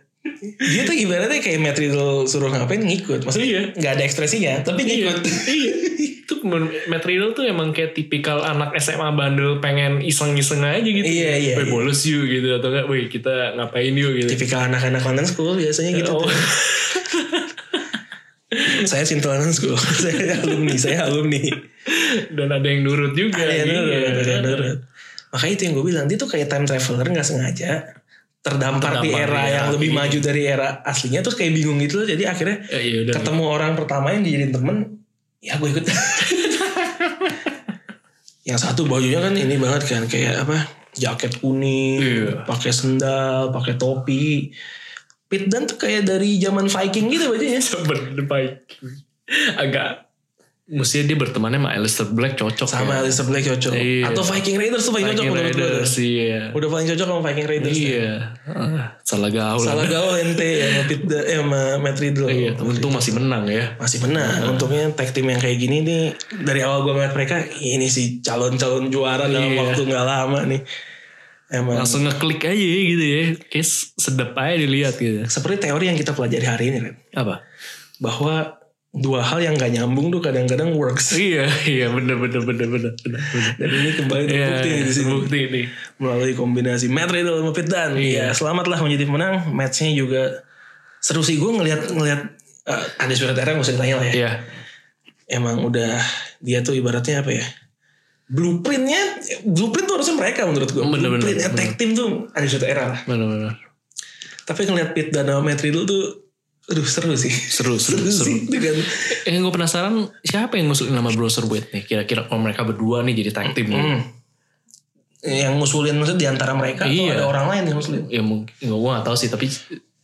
Speaker 1: Dia tuh ibaratnya kayak Matt Riddle suruh ngapain ngikut.
Speaker 2: Iya.
Speaker 1: Maksudnya nggak ada ekspresinya, tapi
Speaker 2: Iya,
Speaker 1: ngikut.
Speaker 2: iya. Itu material tuh emang kayak tipikal anak SMA bandel pengen iseng-iseng aja gitu.
Speaker 1: Iya, iya, iya.
Speaker 2: Weh bolos yuk gitu atau enggak, weh kita ngapain yuk gitu.
Speaker 1: Tipikal anak-anak London School biasanya gitu.
Speaker 2: Oh,
Speaker 1: Saya cinta London School. saya alumni, saya alumni.
Speaker 2: dan ada yang nurut juga.
Speaker 1: Ada yang
Speaker 2: iya.
Speaker 1: nurut, ada yang nurut. Makanya itu yang gue bilang, dia tuh kayak time traveler nggak sengaja terdampar, di
Speaker 2: Terdampar,
Speaker 1: era
Speaker 2: iya.
Speaker 1: yang lebih
Speaker 2: Iya.
Speaker 1: maju dari era aslinya terus kayak bingung gitu loh. jadi akhirnya
Speaker 2: Eh, iya udah.
Speaker 1: ketemu orang pertama yang dijadiin temen ya gue ikut yang satu bajunya kan ini banget kan kayak apa jaket kuning
Speaker 2: Iya.
Speaker 1: pakai sendal pakai topi Pit Dan tuh kayak dari zaman Viking gitu bajunya
Speaker 2: Bener baik. Agak mestinya dia bertemannya sama Alistair Black cocok.
Speaker 1: sama
Speaker 2: ya.
Speaker 1: Alistair Black cocok
Speaker 2: Iya.
Speaker 1: atau Viking Raiders tuh paling
Speaker 2: Viking
Speaker 1: cocok menurut gue
Speaker 2: Raiders, iya.
Speaker 1: udah paling cocok sama Viking Raiders ya.
Speaker 2: Iya. Ah, salah gaul.
Speaker 1: salah gaul ente ya sama, Pit Dan, eh, sama Matt Riddle
Speaker 2: Iya, untung masih menang ya.
Speaker 1: masih benar untungnya tag team yang kayak gini nih dari awal gue ngeliat mereka ini sih calon-calon juara dalam
Speaker 2: Iya.
Speaker 1: waktu nggak lama nih emang
Speaker 2: Langsung ngeklik aja ya gitu ya. Kayak sedep aja dilihat gitu.
Speaker 1: seperti teori yang kita pelajari hari ini Ren.
Speaker 2: Apa?
Speaker 1: bahwa dua hal yang gak nyambung tuh kadang-kadang works
Speaker 2: Iya, iya bener bener bener bener bener. bener.
Speaker 1: dan ini kembali
Speaker 2: Iya,
Speaker 1: terbukti nih di sini
Speaker 2: bukti nih.
Speaker 1: melalui kombinasi Matt Riddle sama Pete Dunne.
Speaker 2: Iya.
Speaker 1: Ya, selamatlah menjadi pemenang. Matchnya juga seru sih gue ngelihat ngelihat eh, ada surat era nggak usah ditanya lah ya.
Speaker 2: Iya,
Speaker 1: Emang udah dia tuh ibaratnya apa ya? Blueprintnya, blueprint tuh harusnya mereka menurut gue.
Speaker 2: Bener, bener,
Speaker 1: Blueprintnya
Speaker 2: bener.
Speaker 1: tag team tuh ada surat era lah.
Speaker 2: bener bener.
Speaker 1: Tapi ngelihat Pete Dunne sama Matt Riddle tuh, aduh seru sih.
Speaker 2: Seru seru seru.
Speaker 1: sih dengan
Speaker 2: Eh, yang gue penasaran siapa yang ngusulin nama browser buat nih? Kira-kira kalau mereka berdua nih jadi tag team.
Speaker 1: Hmm. yang ngusulin maksudnya di antara mereka
Speaker 2: Iya.
Speaker 1: atau ada orang lain yang ngusulin?
Speaker 2: Ya mungkin gue gak tahu sih, tapi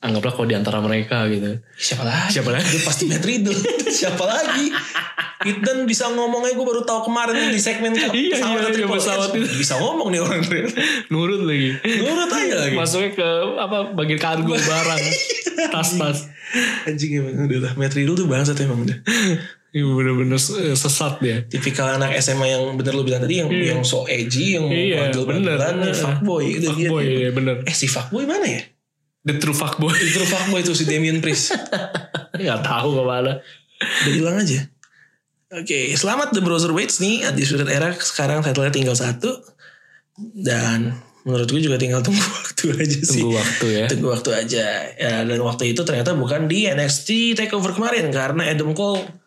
Speaker 2: anggaplah kalau di antara mereka gitu.
Speaker 1: Siapa lagi?
Speaker 2: Siapa lagi?
Speaker 1: Dia pasti Matt Riddle. Siapa lagi? Ethan bisa ngomongnya gue baru tahu kemarin nih di segmen
Speaker 2: Iya,
Speaker 1: pesawat atau
Speaker 2: iya, iya,
Speaker 1: Triple H.
Speaker 2: pesawat itu.
Speaker 1: Bisa ngomong nih orang
Speaker 2: Nurut lagi.
Speaker 1: Nurut aja lagi.
Speaker 2: Masuknya ke apa bagian kargo barang, tas-tas.
Speaker 1: Anjing emang udah lah. Matt Riddle tuh bangsat emang udah.
Speaker 2: Iya bener-bener se- sesat dia.
Speaker 1: Tipikal anak SMA yang bener lu bilang tadi yang yang so edgy, yang
Speaker 2: Iya,
Speaker 1: bandel-bandelan,
Speaker 2: bener.
Speaker 1: yang fuckboy. Itu dia.
Speaker 2: Fuckboy, iya, bener.
Speaker 1: Eh si fuckboy mana ya?
Speaker 2: The true fuckboy.
Speaker 1: Itu fuckboy itu si Damien Priest.
Speaker 2: Gak Ya, tahu kemana.
Speaker 1: Udah hilang aja. Oke, selamat The Browser Waits nih. Undisputed Era sekarang title-nya tinggal satu. Dan menurut gue juga tinggal tunggu waktu aja sih.
Speaker 2: Tunggu waktu ya.
Speaker 1: Tunggu waktu aja. Ya, dan waktu itu ternyata bukan di NXT Takeover kemarin. Karena Adam Cole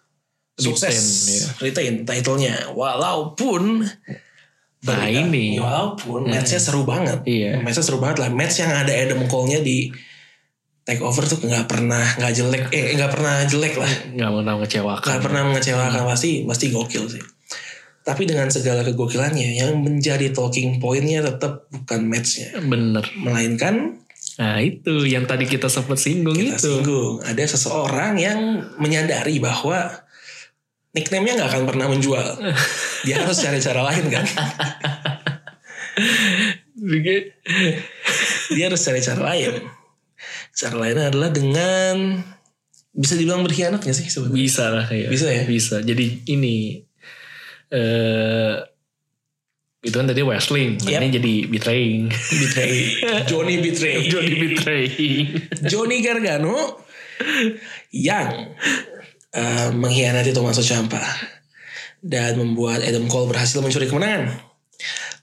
Speaker 1: sukses
Speaker 2: Retain, ya.
Speaker 1: retain titlenya. Walaupun
Speaker 2: Nah ini.
Speaker 1: Walaupun matchnya seru banget.
Speaker 2: Hmm. Iya.
Speaker 1: Matchnya seru banget lah. Match yang ada Adam Cole-nya di Takeover tuh nggak pernah nggak jelek eh nggak pernah jelek lah
Speaker 2: Gak mau ngecewakan.
Speaker 1: Gak pernah mengecewakan pasti pasti gokil sih. Tapi dengan segala kegokilannya yang menjadi talking pointnya tetap bukan matchnya.
Speaker 2: Bener.
Speaker 1: Melainkan
Speaker 2: Nah itu yang tadi kita sempat singgung
Speaker 1: kita
Speaker 2: itu.
Speaker 1: singgung ada seseorang yang menyadari bahwa nickname-nya nggak akan pernah menjual. Dia harus cari cara lain kan.
Speaker 2: Jadi,
Speaker 1: Dia harus cari cara lain. Cara lain adalah dengan bisa dibilang berkhianat gak sih sebenarnya?
Speaker 2: Bisa lah kayak.
Speaker 1: Bisa ya?
Speaker 2: Bisa. Jadi ini eh itu kan tadi wrestling,
Speaker 1: Yep.
Speaker 2: ini jadi betraying.
Speaker 1: Betray. Johnny Betray.
Speaker 2: Johnny betraying.
Speaker 1: Johnny Gargano yang eh, mengkhianati Tommaso Ciampa dan membuat Adam Cole berhasil mencuri kemenangan.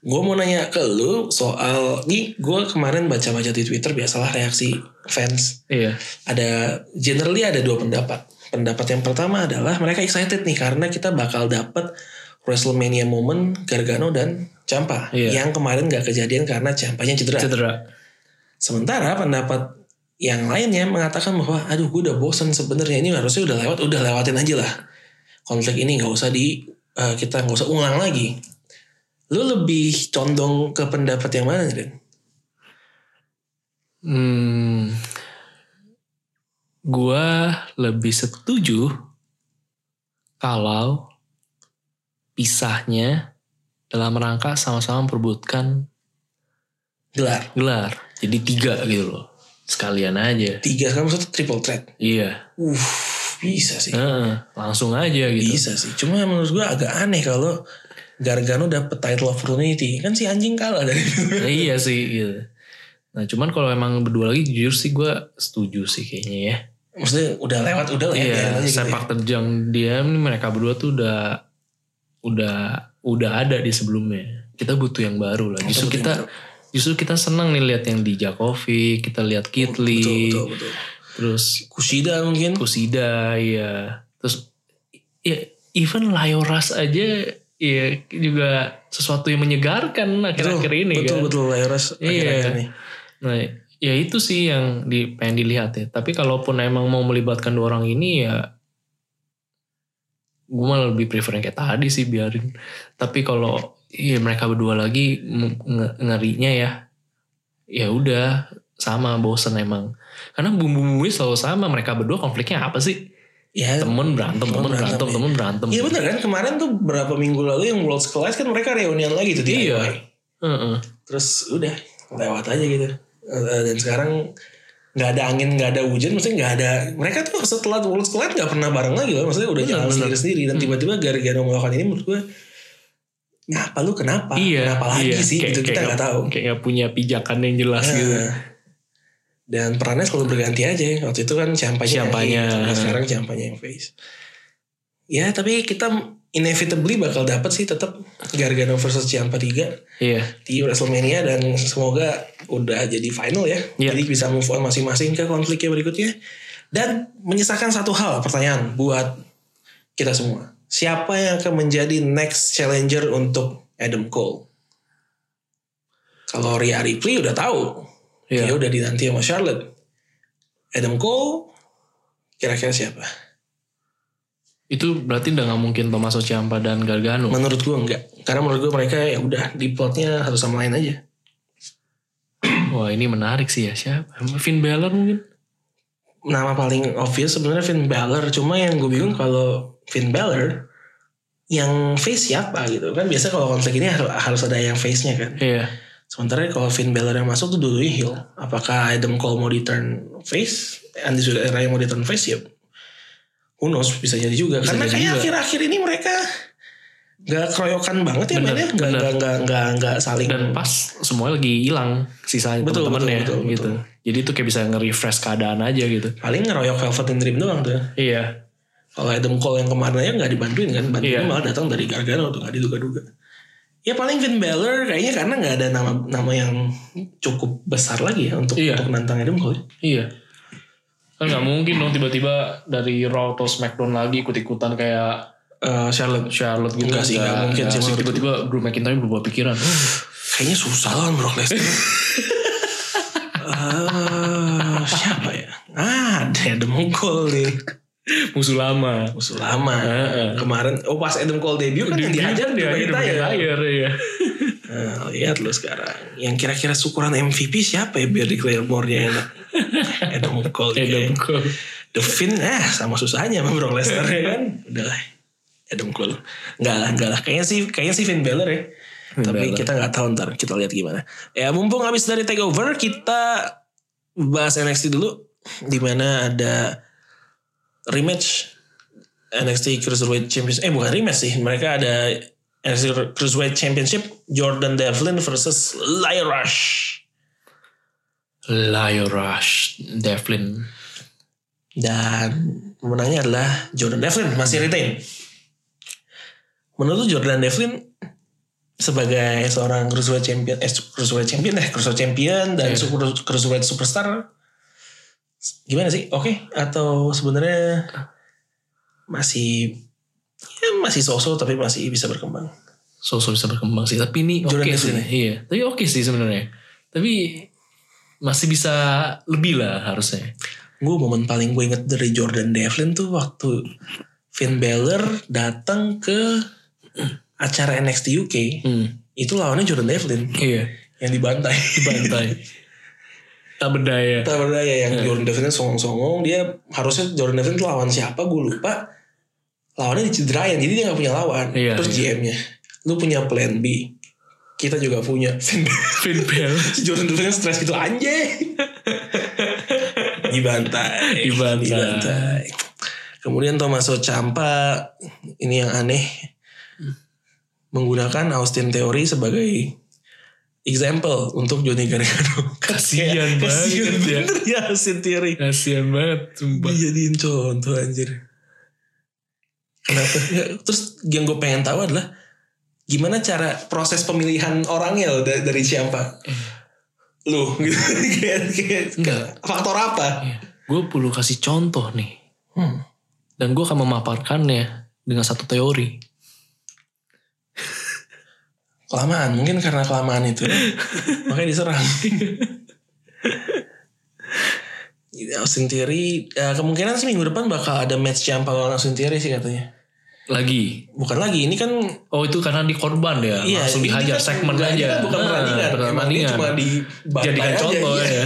Speaker 1: Gue mau nanya ke lu soal nih gue kemarin baca-baca di Twitter biasalah reaksi fans Nah.
Speaker 2: iya.
Speaker 1: ada generally ada dua pendapat. Pendapat yang pertama adalah mereka excited nih karena kita bakal dapat WrestleMania moment Gargano dan Ciampa
Speaker 2: Iya.
Speaker 1: yang kemarin gak kejadian karena Ciampanya cedera.
Speaker 2: Cedera.
Speaker 1: Sementara pendapat yang lainnya mengatakan bahwa aduh gue udah bosen sebenarnya ini harusnya udah lewat udah lewatin aja lah konflik ini nggak usah di eh, kita nggak usah ulang lagi. Lu lebih condong ke pendapat yang mana, Den?
Speaker 2: Hmm, gua lebih setuju kalau pisahnya dalam rangka sama-sama memperbutkan
Speaker 1: Gelar
Speaker 2: gelar. Jadi tiga gitu loh. Sekalian aja.
Speaker 1: tiga kamu satu triple threat.
Speaker 2: Iya.
Speaker 1: Uh bisa sih,
Speaker 2: Heeh, langsung aja gitu.
Speaker 1: bisa sih. Cuma menurut gue agak aneh kalau Gargano dapet title opportunity kan si anjing kalah dari
Speaker 2: Nah, iya sih gitu. Nah cuman kalau emang berdua lagi jujur sih gua setuju sih kayaknya ya.
Speaker 1: maksudnya udah lewat udah lah ya, biarin
Speaker 2: Iya
Speaker 1: aja gitu
Speaker 2: sepak terjang dia ini mereka berdua tuh udah udah udah ada di sebelumnya. Kita butuh yang baru lah.
Speaker 1: ya.
Speaker 2: Justru
Speaker 1: Betul,
Speaker 2: kita
Speaker 1: betul,
Speaker 2: justru kita senang nih lihat yang di Jakovic, kita lihat
Speaker 1: betul,
Speaker 2: Kitli,
Speaker 1: betul, betul.
Speaker 2: terus
Speaker 1: Kushida mungkin
Speaker 2: Kusida ya. Terus ya even Layoras aja ya juga sesuatu yang menyegarkan akhir-akhir ini
Speaker 1: betul
Speaker 2: kan.
Speaker 1: betul Layoras
Speaker 2: Iya.
Speaker 1: akhir-akhir ini.
Speaker 2: Nah, ya itu sih yang di, pengen dilihat ya. Tapi kalaupun emang mau melibatkan dua orang ini ya gue malah lebih prefer yang kayak tadi sih biarin. Tapi kalau ya mereka berdua lagi m- nge- ngerinya ya ya udah sama bosen emang. Karena bumbu-bumbunya selalu sama. Mereka berdua konfliknya apa sih?
Speaker 1: ya
Speaker 2: Temen berantem,
Speaker 1: Temen
Speaker 2: temen berantem,
Speaker 1: berantem,
Speaker 2: temen berantem.
Speaker 1: iya benar kan kemarin tuh berapa minggu lalu yang World Class kan mereka reunian lagi tuh di
Speaker 2: Iya.
Speaker 1: DIY.
Speaker 2: Heeh.
Speaker 1: terus udah lewat aja gitu Eh, dan sekarang nggak ada angin nggak ada hujan maksudnya nggak ada mereka tuh setelah World Class nggak pernah bareng lagi loh maksudnya udah
Speaker 2: Benar,
Speaker 1: jalan
Speaker 2: benar.
Speaker 1: sendiri sendiri dan
Speaker 2: Hmm.
Speaker 1: tiba-tiba gara-gara melakukan ini menurut gue ngapa lu kenapa
Speaker 2: Iya.
Speaker 1: kenapa lagi
Speaker 2: iya.
Speaker 1: sih
Speaker 2: Kayak-
Speaker 1: gitu
Speaker 2: kayak
Speaker 1: kita nggak tahu
Speaker 2: Kayak nggak punya pijakan yang jelas gitu.
Speaker 1: Nah, Dan perannya selalu berganti aja. Waktu itu kan Ciampanya. yang
Speaker 2: Ciampanya.
Speaker 1: heel, terus Sekarang Ciampanya yang face. Ya tapi kita inevitably bakal dapat sih tetap Gargano versus Ciampa 3
Speaker 2: Iya.
Speaker 1: di WrestleMania dan semoga udah jadi final ya.
Speaker 2: Iya.
Speaker 1: Jadi bisa move on masing-masing ke konfliknya berikutnya. Dan menyisakan satu hal pertanyaan buat kita semua. Siapa yang akan menjadi next challenger untuk Adam Cole? Kalau Rhea Ripley udah tahu
Speaker 2: Iya.
Speaker 1: dia udah dinanti sama Charlotte. Adam Cole kira-kira siapa?
Speaker 2: Itu berarti udah nggak mungkin Tommaso Ciampa dan Gargano.
Speaker 1: Menurut gue enggak. Karena menurut gue mereka ya udah di plotnya satu sama lain aja.
Speaker 2: Wah ini menarik sih ya siapa? Finn Balor mungkin?
Speaker 1: Nama paling obvious sebenarnya Finn Balor. Cuma yang gue bingung kalau Finn Balor yang face siapa gitu kan biasa kalau konflik ini har- harus ada yang face nya kan
Speaker 2: Iya.
Speaker 1: sementara ya, kalau Finn Balor yang masuk tuh dulu heel apakah Adam Cole mau di turn face Andy Era yang mau di turn face ya who knows bisa jadi juga
Speaker 2: Bisa
Speaker 1: karena
Speaker 2: jadi
Speaker 1: kayak
Speaker 2: juga.
Speaker 1: akhir-akhir ini mereka nggak keroyokan banget ya
Speaker 2: Bener,
Speaker 1: mainnya nggak
Speaker 2: bener.
Speaker 1: nggak nggak nggak nggak saling
Speaker 2: Dan pas semuanya lagi hilang sisa
Speaker 1: Betul,
Speaker 2: teman-teman ya
Speaker 1: betul, betul,
Speaker 2: gitu. Jadi itu kayak bisa nge-refresh keadaan aja gitu.
Speaker 1: paling ngeroyok Velvet and Dream doang tuh
Speaker 2: Iya.
Speaker 1: kalau Adam Cole yang kemarin aja nggak dibantuin kan bantuin
Speaker 2: Iya.
Speaker 1: malah datang dari Gargano tuh nggak diduga-duga ya paling Finn Balor kayaknya karena nggak ada nama nama yang cukup besar lagi ya untuk
Speaker 2: Iya.
Speaker 1: untuk nantang Adam Cole
Speaker 2: Iya. Kan nggak mungkin dong tiba-tiba dari Raw atau SmackDown lagi ikut-ikutan kayak
Speaker 1: Eh, Charlotte
Speaker 2: Charlotte gitu.
Speaker 1: Nggak sih, nggak mungkin sih
Speaker 2: sih.
Speaker 1: menurut
Speaker 2: Tiba-tiba Drew McIntyre berubah pikiran.
Speaker 1: kayaknya susah lah Brock Lesnar. Eh, siapa ya? Ah, ada Adam Cole nih.
Speaker 2: musuh lama
Speaker 1: musuh lama
Speaker 2: Heeh.
Speaker 1: kemarin oh pas Adam Cole debut kan yang dihajar
Speaker 2: dia
Speaker 1: Dubay
Speaker 2: dia
Speaker 1: Tayar.
Speaker 2: dihajar ya
Speaker 1: Nah, lihat lo sekarang yang kira-kira syukuran MVP siapa ya biar di Claymore-nya enak Adam Cole Adam.
Speaker 2: Adam Cole
Speaker 1: The Finn eh sama susahnya sama Brock Lesnar ya kan udah lah Adam Cole nggak lah nggak lah kayaknya sih kayaknya sih Finn Balor ya
Speaker 2: Finn
Speaker 1: tapi
Speaker 2: Balor.
Speaker 1: kita nggak tahu ntar kita lihat gimana ya mumpung habis dari takeover kita bahas NXT dulu di mana ada rematch NXT Cruiserweight Championship eh bukan rematch sih mereka ada NXT Cruiserweight Championship Jordan Devlin versus Lyle Rush
Speaker 2: Lio Rush Devlin
Speaker 1: Dan pemenangnya adalah Jordan Devlin masih retain. Menurut Jordan Devlin sebagai seorang cruiserweight champion, eh, cruiserweight champion, eh, cruiserweight champion dan
Speaker 2: Iya.
Speaker 1: super- cruiserweight superstar, gimana sih? Oke? Atau sebenarnya masih ya masih sosok tapi masih bisa berkembang.
Speaker 2: sosok bisa berkembang sih tapi ini oke
Speaker 1: Jordan
Speaker 2: sih
Speaker 1: Devlin ya?
Speaker 2: iya tapi oke sih sebenarnya tapi masih bisa lebih lah harusnya
Speaker 1: Gue momen paling gue inget dari Jordan Devlin tuh waktu Finn Balor datang ke acara NXT UK.
Speaker 2: hmm,
Speaker 1: itu lawannya Jordan Devlin
Speaker 2: iya
Speaker 1: yang dibantai
Speaker 2: dibantai tak berdaya
Speaker 1: tak berdaya ya, yang Jordan Devlinnya songong-songong dia harusnya Jordan Devlin tuh lawan siapa gue lupa lawannya dicederain jadi dia nggak punya lawan
Speaker 2: Iya,
Speaker 1: terus GM-nya lu punya plan B kita juga punya
Speaker 2: Finn Balor
Speaker 1: Si Jordan Devlinnya stres gitu anjay dibantai
Speaker 2: Dibantai.
Speaker 1: kemudian Tommaso Ciampa ini yang aneh menggunakan Austin Theory sebagai example untuk Johnny Gargano
Speaker 2: Kasian banget
Speaker 1: kasian
Speaker 2: ya.
Speaker 1: bener ya Austin Theory
Speaker 2: kasihan banget sumpah
Speaker 1: dijadiin contoh anjir kenapa Ya, terus yang gue pengen tahu adalah gimana cara proses pemilihan orangnya loh da- dari siapa lu gitu Kayak- kayak-
Speaker 2: Eh. Enggak.
Speaker 1: faktor apa
Speaker 2: gue perlu kasih contoh nih
Speaker 1: hmm.
Speaker 2: dan gue akan memaparkannya dengan satu teori
Speaker 1: kelamaan mungkin karena kelamaan itu makanya diserang Austin Theory eh, kemungkinan sih minggu depan bakal ada match Ciampa lawan Austin Theory sih katanya
Speaker 2: lagi
Speaker 1: bukan lagi ini kan
Speaker 2: oh itu karena di korban ya langsung
Speaker 1: ini
Speaker 2: dihajar
Speaker 1: kan
Speaker 2: segmen
Speaker 1: enggak, ini kan
Speaker 2: aja
Speaker 1: bukan
Speaker 2: Ah,
Speaker 1: pertandingan, Emang
Speaker 2: bukan
Speaker 1: dia
Speaker 2: pertandingan.
Speaker 1: cuma di iya.
Speaker 2: jadikan contoh ya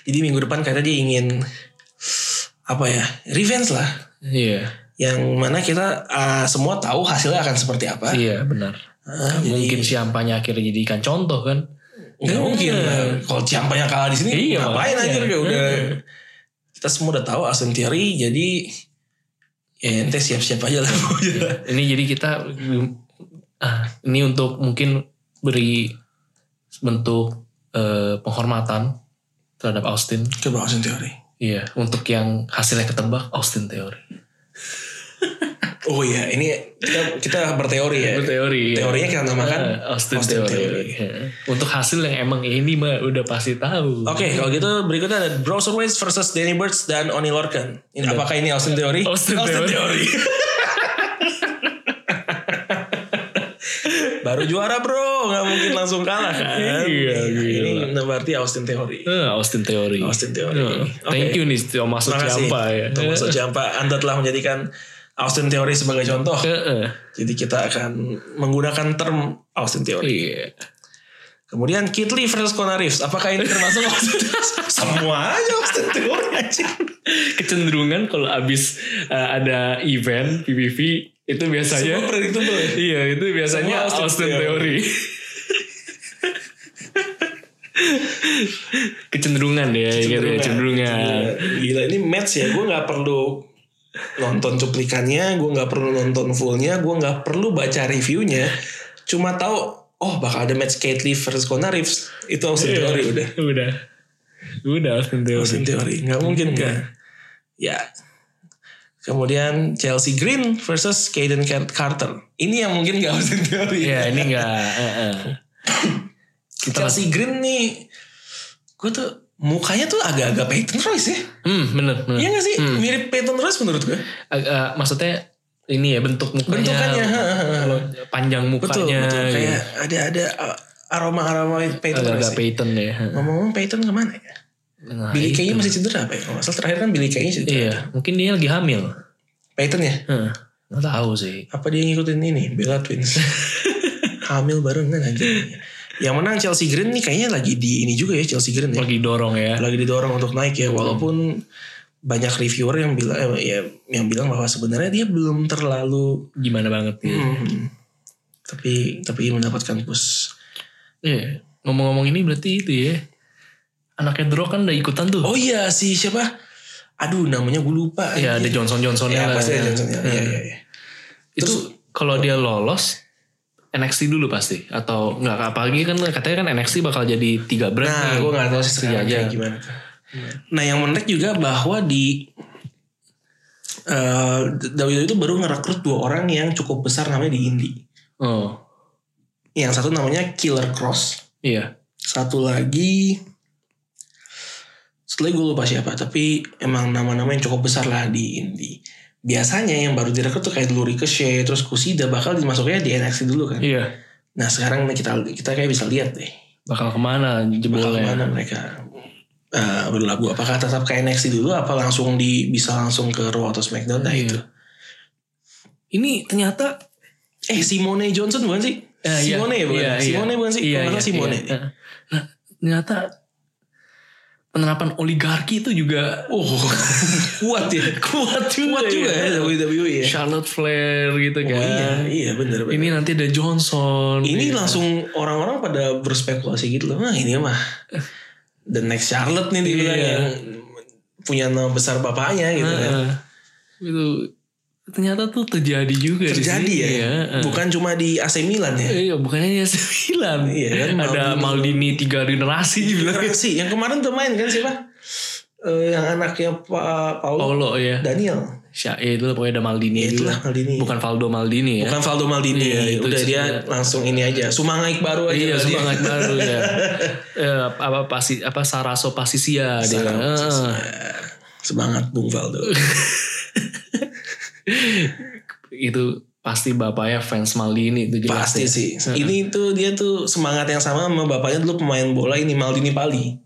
Speaker 1: Jadi minggu depan katanya dia ingin apa ya revenge lah,
Speaker 2: iya
Speaker 1: yang mana kita ah, semua tahu hasilnya akan seperti apa.
Speaker 2: iya benar
Speaker 1: Ah, jadi
Speaker 2: mungkin siampanya akhirnya jadikan contoh kan
Speaker 1: nggak Ya mungkin
Speaker 2: Hmm.
Speaker 1: lah. Kalau siapa yang kalah di sini
Speaker 2: Iya,
Speaker 1: ngapain
Speaker 2: makanya.
Speaker 1: aja kayak udah
Speaker 2: Hmm.
Speaker 1: kita semua udah tahu Austin Theory jadi ya ente siap-siap aja lah.
Speaker 2: ini jadi kita ah, ini untuk mungkin beri bentuk eh, penghormatan terhadap Austin
Speaker 1: Coba Austin Theory.
Speaker 2: iya untuk yang hasilnya ketebak Austin teori
Speaker 1: Oh iya, ini kita, kita berteori
Speaker 2: Iya,
Speaker 1: ya.
Speaker 2: teori Ah,
Speaker 1: Teorinya kita namakan
Speaker 2: Austin,
Speaker 1: Austin
Speaker 2: Theory.
Speaker 1: Theory.
Speaker 2: Iya. Untuk hasil yang emang ini mah udah pasti tahu.
Speaker 1: Oke, kalau gitu berikutnya ada Browserways versus Danny Burch dan Oni Lorcan. Ini, apakah ini Austin Theory?
Speaker 2: Austin
Speaker 1: Theory. Baru juara bro, nggak mungkin langsung kalah kan?
Speaker 2: Iya,
Speaker 1: Ini berarti Austin Theory.
Speaker 2: Eh, Austin Theory.
Speaker 1: Austin Theory.
Speaker 2: Eh, Thank
Speaker 1: Oke.
Speaker 2: you nih Thomas
Speaker 1: Terima kasih.
Speaker 2: Ciampa ya.
Speaker 1: Thomas Ciampa, Anda telah menjadikan Austin Theory sebagai contoh.
Speaker 2: Eh, eh,
Speaker 1: Jadi kita akan menggunakan term Austin Theory.
Speaker 2: Iya.
Speaker 1: Kemudian Kit Lee versus Conor Reeves. Apakah ini termasuk Austin Theory? Semua aja Austin Theory aja.
Speaker 2: Kecenderungan kalau abis eh, ada event PPV itu
Speaker 1: Semua
Speaker 2: biasanya
Speaker 1: predictable ya?
Speaker 2: iya itu biasanya
Speaker 1: Semua ya. Austin
Speaker 2: Austin,
Speaker 1: Theory.
Speaker 2: Theory. kecenderungan ya, gitu ya, kecenderungan.
Speaker 1: Iya. Gila ini match ya Gue gak perlu Nonton cuplikannya Gue gak perlu nonton fullnya Gue gak perlu baca reviewnya Cuma tahu Oh bakal ada match Kate Lee versus Conor Reeves Itu Austin
Speaker 2: Iya.
Speaker 1: Theory udah
Speaker 2: Udah. Udah Austin Theory.
Speaker 1: Austin Theory
Speaker 2: Iya.
Speaker 1: Gak mungkin kan Ya Kemudian Chelsea Green versus Caden Carter. Ini yang mungkin gak Austin Theory.
Speaker 2: Ya ini enggak. eh, eh.
Speaker 1: Chelsea Green nih. Gue tuh mukanya tuh agak-agak Peyton Royce ya.
Speaker 2: Hmm bener bener.
Speaker 1: Iya gak sih?
Speaker 2: Hmm.
Speaker 1: Mirip Peyton Royce menurut gue.
Speaker 2: Ag- eh, maksudnya ini ya bentuk mukanya.
Speaker 1: Bentukannya, ha, ha, ha.
Speaker 2: kalau Panjang
Speaker 1: Betul,
Speaker 2: mukanya.
Speaker 1: betul.
Speaker 2: gitu.
Speaker 1: Kayak ada ada aroma aroma Peyton Royce.
Speaker 2: Agak-agak Peyton ya. ha.
Speaker 1: Ngomong-ngomong Peyton kemana ya?
Speaker 2: Nah,
Speaker 1: Billy
Speaker 2: itu.
Speaker 1: Kay masih cedera apa ya? Kalau nggak salah terakhir kan Billy Kay cedera.
Speaker 2: Iya, mungkin dia lagi hamil.
Speaker 1: Peyton ya?
Speaker 2: Heeh. Nggak tahu sih.
Speaker 1: Apa dia ngikutin ini? Bella Twins. Hamil barengan aja. Yang menang Chelsea Green nih kayaknya lagi di ini juga ya Chelsea Green ya.
Speaker 2: Lagi Hmm. dorong ya.
Speaker 1: Lagi didorong untuk naik ya walaupun banyak reviewer yang bilang eh, ya yang bilang bahwa sebenarnya dia belum terlalu
Speaker 2: Gimana banget gitu.
Speaker 1: hmm, tapi tapi mendapatkan push.
Speaker 2: Iya. Ngomong-ngomong ini berarti itu ya. Anaknya Dro kan udah ikutan tuh.
Speaker 1: Oh iya si siapa? Aduh namanya gue lupa.
Speaker 2: ya ada
Speaker 1: Anjir.
Speaker 2: Johnson
Speaker 1: Ya,
Speaker 2: Johnsonnya lah.
Speaker 1: pasti ada Johnson. Ya,
Speaker 2: Hmm.
Speaker 1: ya, ya, ya.
Speaker 2: Itu
Speaker 1: Terus-
Speaker 2: kalau dia lolos NXT dulu pasti atau nggak apalagi kan katanya kan NXT bakal jadi tiga brand.
Speaker 1: Nah,
Speaker 2: nih.
Speaker 1: gue gak tahu sih
Speaker 2: Iya,
Speaker 1: sekarang
Speaker 2: iya.
Speaker 1: kayak gimana. tuh. Nah, yang menarik juga bahwa di eh WWE itu baru ngerekrut dua orang yang cukup besar namanya di indie.
Speaker 2: Oh,
Speaker 1: Yang satu namanya Killer Cross,
Speaker 2: iya.
Speaker 1: satu lagi setelah gue lupa siapa, tapi emang nama-nama yang cukup besar lah di indie. Biasanya yang baru direkrut tuh kayak dulu Ricochet, terus Kusida bakal dimasuknya di NXT dulu kan.
Speaker 2: Iya.
Speaker 1: Nah sekarang kita kita kayak bisa lihat deh
Speaker 2: Bakal kemana
Speaker 1: bakal
Speaker 2: jebolnya?
Speaker 1: mana mereka eh, berlabuh apakah tetap ke NXT dulu apa langsung di bisa langsung ke Raw atau SmackDown nah
Speaker 2: Iya.
Speaker 1: itu
Speaker 2: Ini ternyata
Speaker 1: eh Simone Johnson bukan sih
Speaker 2: Eh, iya,
Speaker 1: Simone ya bukan
Speaker 2: iya, iya.
Speaker 1: Simone bukan sih
Speaker 2: iya,
Speaker 1: Kalau nggak
Speaker 2: iya,
Speaker 1: Simone
Speaker 2: iya. Nah, ternyata penerapan oligarki itu juga
Speaker 1: oh kuat ya
Speaker 2: kuat juga,
Speaker 1: kuat juga
Speaker 2: ya.
Speaker 1: ya WWE ya
Speaker 2: Charlotte Flair gitu
Speaker 1: Oh,
Speaker 2: kan.
Speaker 1: iya iya bener bener
Speaker 2: Ini nanti ada Johnson.
Speaker 1: ini
Speaker 2: gitu.
Speaker 1: langsung orang-orang pada berspekulasi gitu loh nah ini mah the next Charlotte nih dibilang
Speaker 2: Eh. Iya.
Speaker 1: yang punya nama besar bapaknya gitu kan
Speaker 2: Heeh. Eh, Itu ternyata tuh terjadi juga Iya, di
Speaker 1: terjadi
Speaker 2: sini,
Speaker 1: ya
Speaker 2: heeh.
Speaker 1: bukan cuma di AC Milan ya
Speaker 2: Iya, bukannya hanya sembilan.
Speaker 1: Iya, kan, Iya.
Speaker 2: ada Maldini tiga generasi bilang.
Speaker 1: Gimana sih? Yang kemarin tuh main kan siapa? Eh, yang anaknya Pak Paulo
Speaker 2: Paulo ya.
Speaker 1: Daniel.
Speaker 2: Sya, ya, itu pokoknya ada Maldini
Speaker 1: Ya itulah
Speaker 2: juga.
Speaker 1: Maldini.
Speaker 2: Bukan Valdo Maldini ya.
Speaker 1: Bukan Valdo Maldini.
Speaker 2: Iya, itu
Speaker 1: Udah dia
Speaker 2: sebenarnya.
Speaker 1: langsung ini aja. Sumangaik baru aja.
Speaker 2: Iya,
Speaker 1: lah dia.
Speaker 2: semangat baru ya. Eh, apa pasti apa Saraso Pasisia dia. Ah,
Speaker 1: Sekarang,
Speaker 2: Heeh.
Speaker 1: eh, Semangat Bung Valdo.
Speaker 2: Iya, itu pasti bapaknya fans Maldini itu jelas.
Speaker 1: Pasti
Speaker 2: ya.
Speaker 1: sih. Ini tuh dia tuh semangat yang sama sama bapaknya dulu pemain bola ini Maldini Pali.